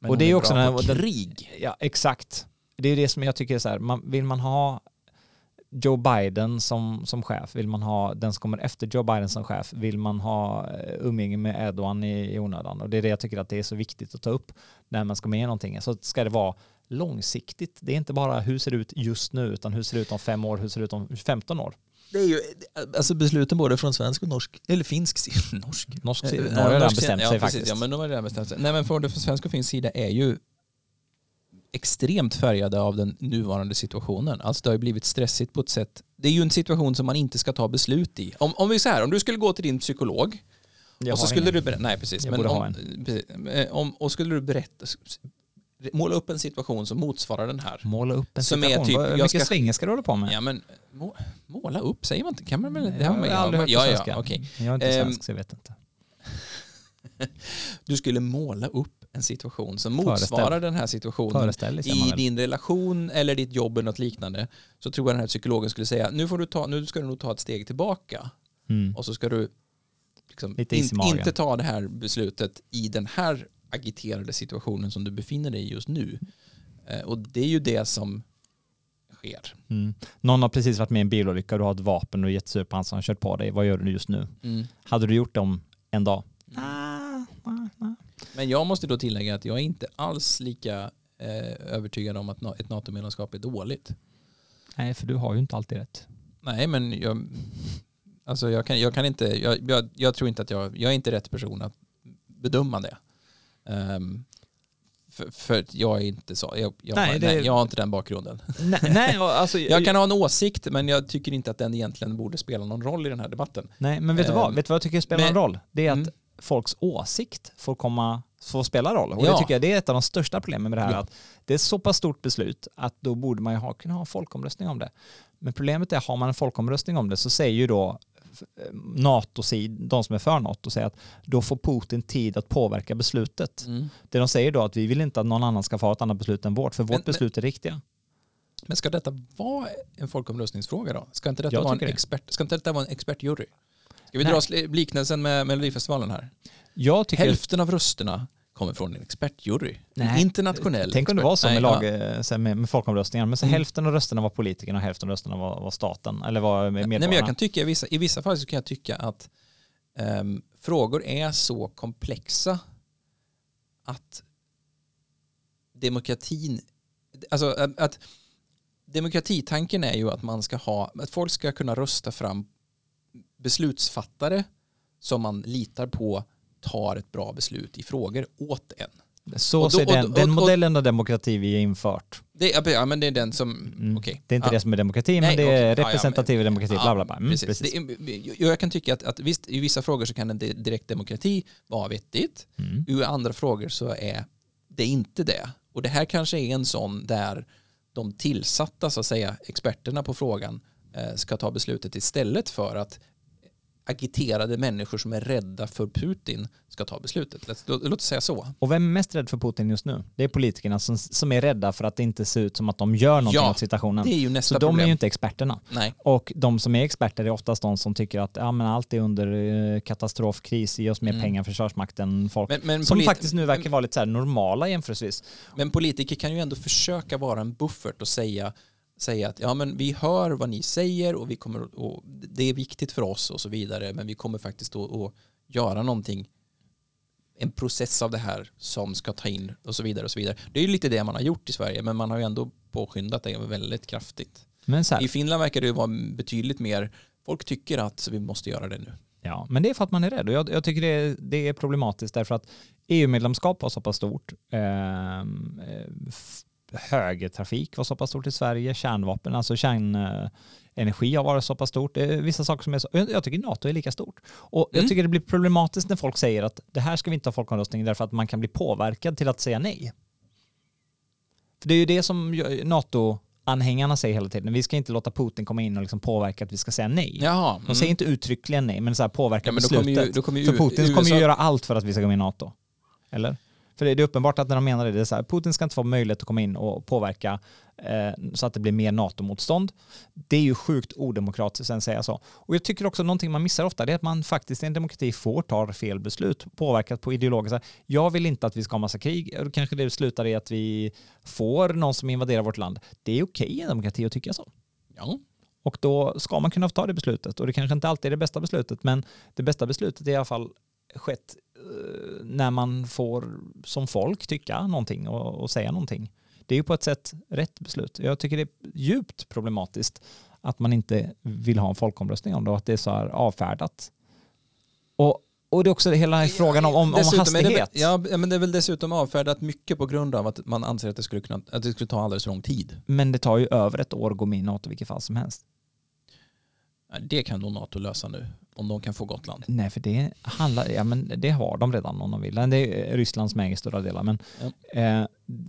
Men
och det
hon
är ju
bra
också den,
på
här- den,
krig.
Ja, exakt. Det är det som jag tycker är så här, man, vill man ha Joe Biden som, som chef, vill man ha den som kommer efter Joe Biden som chef, vill man ha eh, umgänge med Erdogan i, i onödan? Och det är det jag tycker att det är så viktigt att ta upp när man ska med i någonting. Så ska det vara långsiktigt. Det är inte bara hur ser det ut just nu, utan hur ser det ut om fem år, hur ser det ut om 15 år?
Det är ju, alltså besluten både från svensk och norsk, eller finsk sida. Norsk?
<laughs> Norsk sida,
Eh,
Norge har redan
norsk
bestämt
sida-
sig
ja, precis,
faktiskt.
Ja, men de har redan bestämt sig. Nej, men både från svensk och finsk sida är ju extremt färgade av den nuvarande situationen. Alltså det har ju blivit stressigt på ett sätt. Det är ju en situation som man inte ska ta beslut i. Om, om vi så här, om du skulle gå till din psykolog
Jag
och så
har
skulle
ingen-
du berätta, nej precis,
Jag
men
borde ha
om, precis Eh, om, och skulle du berätta, måla upp en situation som motsvarar den här.
måla upp en
Som är
situation.
typ,
Vad-
jag
Hur mycket
ska-
svänger ska du hålla på med?
Ja men eh, må, måla upp, säger man inte, kan man väl?
Nej,
det har man
jag har aldrig hört
ja,
på
ja,
svenska.
okej.
Jag är inte
Ehm,
svensk så jag vet inte.
Du skulle måla upp en situation som
Föreställ.
motsvarar den här situationen
Föreställ dig, säger man
i
väl.
din relation eller ditt jobb eller något liknande. Så tror jag den här psykologen skulle säga, nu, får du ta, nu ska du nog ta ett steg tillbaka
Mm.
och så ska du liksom
Lite is i
in,
magen.
inte ta det här beslutet i den här agiterade situationen som du befinner dig i just nu. Eh, Och det är ju det som sker.
Mm. Någon har precis varit med i en bilolycka och du har ett vapen och är jättesur på han som har kört på dig. Vad gör du just nu? Hade du gjort det om en dag? Nej, nej, nej.
Men jag måste då tillägga att jag är inte alls lika eh, övertygad om att na- ett NATO-medlemskap är dåligt.
Nej, för du har ju inte alltid rätt.
Nej, men jag, alltså jag, kan, jag kan inte, jag, jag, jag tror inte att jag, jag är inte rätt person att bedöma det. Ehm, för, för att jag är inte så, jag, jag,
Nej,
nej,
det-
jag har inte den bakgrunden.
nej, nej, alltså,
Jag kan ha en åsikt, men jag tycker inte att den egentligen borde spela någon roll i den här debatten.
nej, men vet du vad?
Ehm,
Vet du vad jag tycker spelar
men-
en roll? Det är att
Mm.
folks åsikt får, komma, får spela roll. Och
Ja.
det tycker jag det är ett av de största problemen med det här.
Ja.
Att det är ett så pass stort beslut att då borde man ju ha, kunna ha en folkomröstning om det. Men problemet är, har man en folkomröstning om det så säger ju då eh, NATO-sid, de som är för NATO, säger att då får Putin tid att påverka beslutet.
Mm.
Det de säger då är att vi vill inte att någon annan ska få ha ett annat beslut än vårt, för vårt
Men- men-
beslut är riktiga.
Men ska detta vara en folkomröstningsfråga då? Ska inte detta,
Jag
vara en,
tycker det.
expert, ska inte detta vara en expertjury? Ska vi
Nej.
dra sl- liknelsen med Melodifestivalen här?
Jag tycker...
Hälften av rösterna kommer från en expertjury. En
Nej.
internationell
Tänk om det
expert-
var så med,
Nej,
lag,
ja.
eh, så här med, med folkomröstningar, men så
Mm.
hälften av rösterna var politikerna och hälften av rösterna var, var staten, eller var med-
Nej, men jag
medborgarna.
kan tycka, i, vissa, I vissa fall så kan jag tycka att ehm, frågor är så komplexa att demokratin, alltså att, att demokratitanken är ju att man ska ha, att folk ska kunna rösta fram beslutsfattare som man litar på tar ett bra beslut i frågor åt en.
Så
Och då-
ser
och-
den,
och-
den
och-
modellen av demokrati vi har infört.
Det, ja, ja, men det är den som,
Mm.
okej.
Det är inte
Ja.
det som är demokrati, men
Nej,
det är
okej. Ja, ja,
representativ demokrati, bla bla bla. Mm,
precis.
precis.
Det är- jag- jag kan tycka att, att visst, i vissa frågor så kan en di- direktdemokrati vara vettigt.
Mm.
I andra frågor så är det inte det. Och det här kanske är en sån där de tillsatta, så att säga, experterna på frågan eh, ska ta beslutet istället för att agiterade människor som är rädda för Putin ska ta beslutet. Låt, låt, låt oss säga så.
Och vem är mest rädd för Putin just nu? Det är politikerna som, som är rädda för att det inte ser ut som att de gör någonting
Ja,
åt situationen.
Det är ju nästa
Så de är
problem.
ju inte experterna.
Nej,
Och de som är experter är oftast de som tycker att ja, men allt är under eh, katastrof, kris, ge oss mer
Mm.
pengar, försvarsmakten, folk.
men, men,
som
polit-
faktiskt nu verkar vara lite så här normala jämförelsevis.
men politiker kan ju ändå försöka vara en buffert och säga, säga att ja, men vi hör vad ni säger och, vi kommer, att- och det är viktigt för oss och så vidare, men vi kommer faktiskt att, att göra någonting en process av det här som ska ta in och så vidare och så vidare. Det är ju lite det man har gjort i Sverige, men man har ju ändå påskyndat det väldigt kraftigt.
Men, så här,
I Finland verkar det ju vara betydligt mer, folk tycker att så vi måste göra det nu.
ja, men det är för att man är rädd. Och jag, jag tycker det är, det är problematiskt därför att EU-medlemskap var så pass stort. Ehm, Eh, f- högertrafik var så pass stort i Sverige. Kärnvapen, alltså kärnenergi eh, energi har varit så pass stort. Det är vissa saker som är så. Jag jag tycker NATO är lika stort. Och jag
Mm.
tycker det blir problematiskt när folk säger att det här ska vi inte ha folkomröstning därför att man kan bli påverkad till att säga nej. För det är ju det som ju- NATO-anhängarna säger hela tiden. Vi ska inte låta Putin komma in och liksom påverka att vi ska säga nej.
Jaha.
De säger inte uttryckligen nej, men så här påverka
Mm. Ja, men då kommer
beslutet.
ju, då kommer ju
För Putin kommer
USA
ju göra allt för att vi ska gå med i NATO. Eller? För det är det är uppenbart att när de menar det, det är så här, Putin ska inte få möjlighet att komma in och påverka eh, så att det blir mer NATO-motstånd. Det är ju sjukt odemokratiskt att säga så. Och jag tycker också någonting man missar ofta, det är att man faktiskt i en demokrati får ta fel beslut, påverkat på ideologiska... Jag vill inte att vi ska ha massa krig, och då kanske det slutar i att vi får någon som invaderar vårt land. Det är okej i en demokrati att tycka så.
Ja.
Och då ska man kunna få ta det beslutet. Och det kanske inte alltid är det bästa beslutet, men det bästa beslutet är i alla fall skett eh, när man får som folk tycka någonting och, och säga någonting. Det är ju på ett sätt rätt beslut. Jag tycker det är djupt problematiskt att man inte vill ha en folkomröstning om det och att det är så här avfärdat. Och, och det är också hela frågan om, om, om
Dessutom är det väl-
hastighet.
ja, men det är väl dessutom avfärdat mycket på grund av att man anser att det skulle, kunna, att det skulle ta alldeles för lång tid.
Men det tar ju över ett år att gå med i NATO i vilket fall som helst.
Ja, Det kan nog NATO lösa nu, om de kan få Gotland.
Nej, för det handlar, ja men det har de redan om de vill. Det är Ryssland som äger stora delar. Men eh,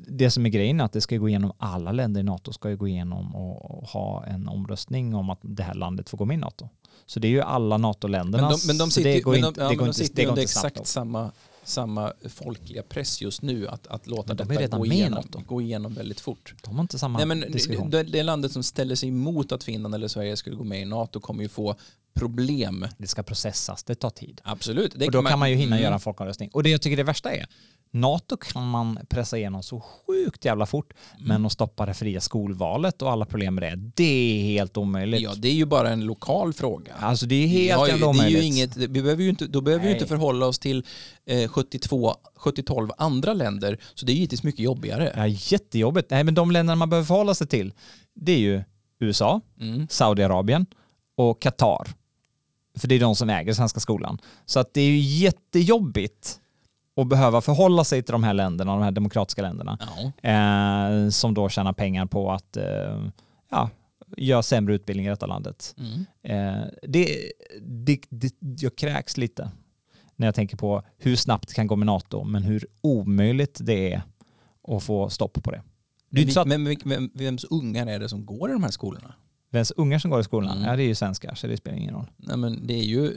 det som är grejen är att det ska ju gå igenom, alla länder i NATO ska ju gå igenom och, och ha en omröstning om att det här landet får gå med i NATO. Så det är ju alla
Men
NATO-länderna.
de, men de
så Alltså,
sitter,
det
ju-
går
men de,
inte,
ja,
det
men
går
de
inte,
sitter
det
ju
går
under
inte snabbt.
exakt samma, samma folkliga press just nu att, att låta
Men de är
detta
redan
gå
med i
igenom,
NATO.
gå igenom väldigt fort.
De har inte samma
Nej, men
diskussion.
det, det landet som ställer sig emot att Finland eller Sverige skulle gå med i NATO kommer ju få problem.
det ska processas, det tar tid.
Absolut. det
och då kan man ju hinna
Mm.
göra en folkomröstning. Och det jag tycker det värsta är, NATO kan man pressa igenom så sjukt jävla fort,
Mm.
men att stoppa det fria skolvalet och alla problem med det, det är helt omöjligt.
Ja, det är ju bara en lokal fråga.
Alltså det är
Vi har
helt jävla
ju- det är ju
omöjligt.
inget, vi behöver ju inte, då behöver vi ju inte
Nej.
förhålla oss till eh, 72, 70-12 andra länder, så det är givetvis mycket jobbigare.
Ja, jättejobbigt. Nej, men de länder man behöver förhålla sig till, det är ju USA,
Mm.
Saudiarabien och Qatar. För det är de som äger svenska skolan. Så att det är ju jättejobbigt att behöva förhålla sig till de här länderna, de här demokratiska länderna,
Ja.
eh, som då tjänar pengar på att eh, ja, göra sämre utbildning i detta landet.
Mm.
Eh, det, det, det, jag kräks lite när jag tänker på hur snabbt det kan gå med NATO, men hur omöjligt det är att få stopp på det. Det är ju
Men,
inte så att
men, vem, vems ungar är det som går i de här skolorna?
vems ungar som går i skolan,
Mm.
ja det är ju svenskar, så det spelar ingen roll.
Nej, men det är ju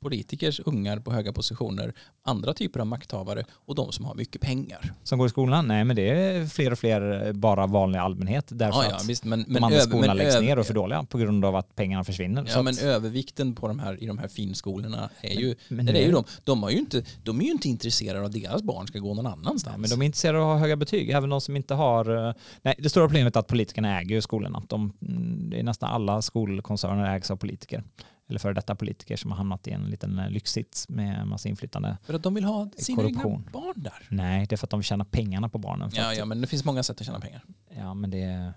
politikers ungar på höga positioner, andra typer av makthavare och de som har mycket pengar.
Som går i skolan? Nej, men det är fler och fler eh, bara vanlig allmänhet därför
Ja, ja,
att
visst, men,
de
men,
andra
över-
skolorna
men
läggs
över-
ner och är för dåliga på grund av att pengarna försvinner. så
Ja,
att-
men övervikten på de här, i de här finskolorna är ju,
men
det
nu-
är ju de. De, har ju inte, de är ju inte intresserade av att deras barn ska gå någon annanstans.
Nej, men de är intresserade av att ha höga betyg, även de som inte har... eh, Nej, det stora problemet är att politikerna äger ju skolorna. De, mm, det är nästan alla skolkoncerner ägs av politiker. Eller före detta politiker som har hamnat i en liten eh, lyxsits med en massa inflytande.
För att de vill ha sina
Korruption.
egna barn där.
Nej, det är för att de tjänar pengarna på barnen. För
Ja,
att,
ja, men det finns många sätt att tjäna pengar.
ja, men det,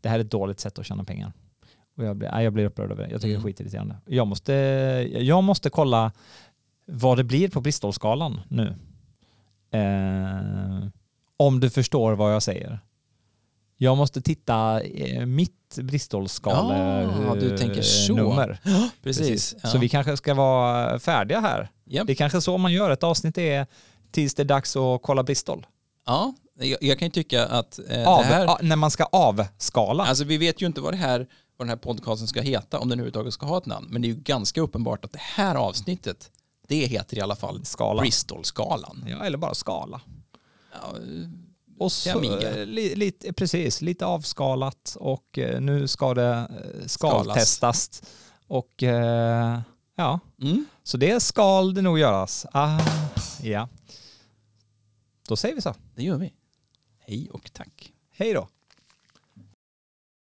det här är ett dåligt sätt att tjäna pengar. Och jag, blir, nej, jag blir upprörd över det. Jag tycker
Mm.
det är skitirriterande. Jag måste, jag måste kolla vad det blir på Bristolskalan nu. Eh, om du förstår vad jag säger. Jag måste titta eh, mitt Bristolskale
Ja, du
eh,
tänker så.
nummer.
Precis. Ja.
Så vi kanske ska vara färdiga här.
Japp.
Det är kanske så man gör. Ett avsnitt är tills det är dags att kolla Bristol.
ja, jag, jag kan ju tycka att eh, det
Av,
här...
a, när man ska avskala.
Alltså vi vet ju inte vad, det här, vad den här podcasten ska heta, om den överhuvudtaget ska ha ett namn. Men det är ju ganska uppenbart att det här avsnittet, det heter i alla fall
skala.
Bristol-skalan.
Ja, eller bara skala.
Ja, eh,
Och så,
Amiga.
eh, li, lite, precis, lite avskalat och eh, nu ska det eh, skaltestas. Och eh, ja,
mm.
så det skal det nog göras. Ah, ja. Då säger vi så.
Det gör vi. Hej och tack.
Hej då.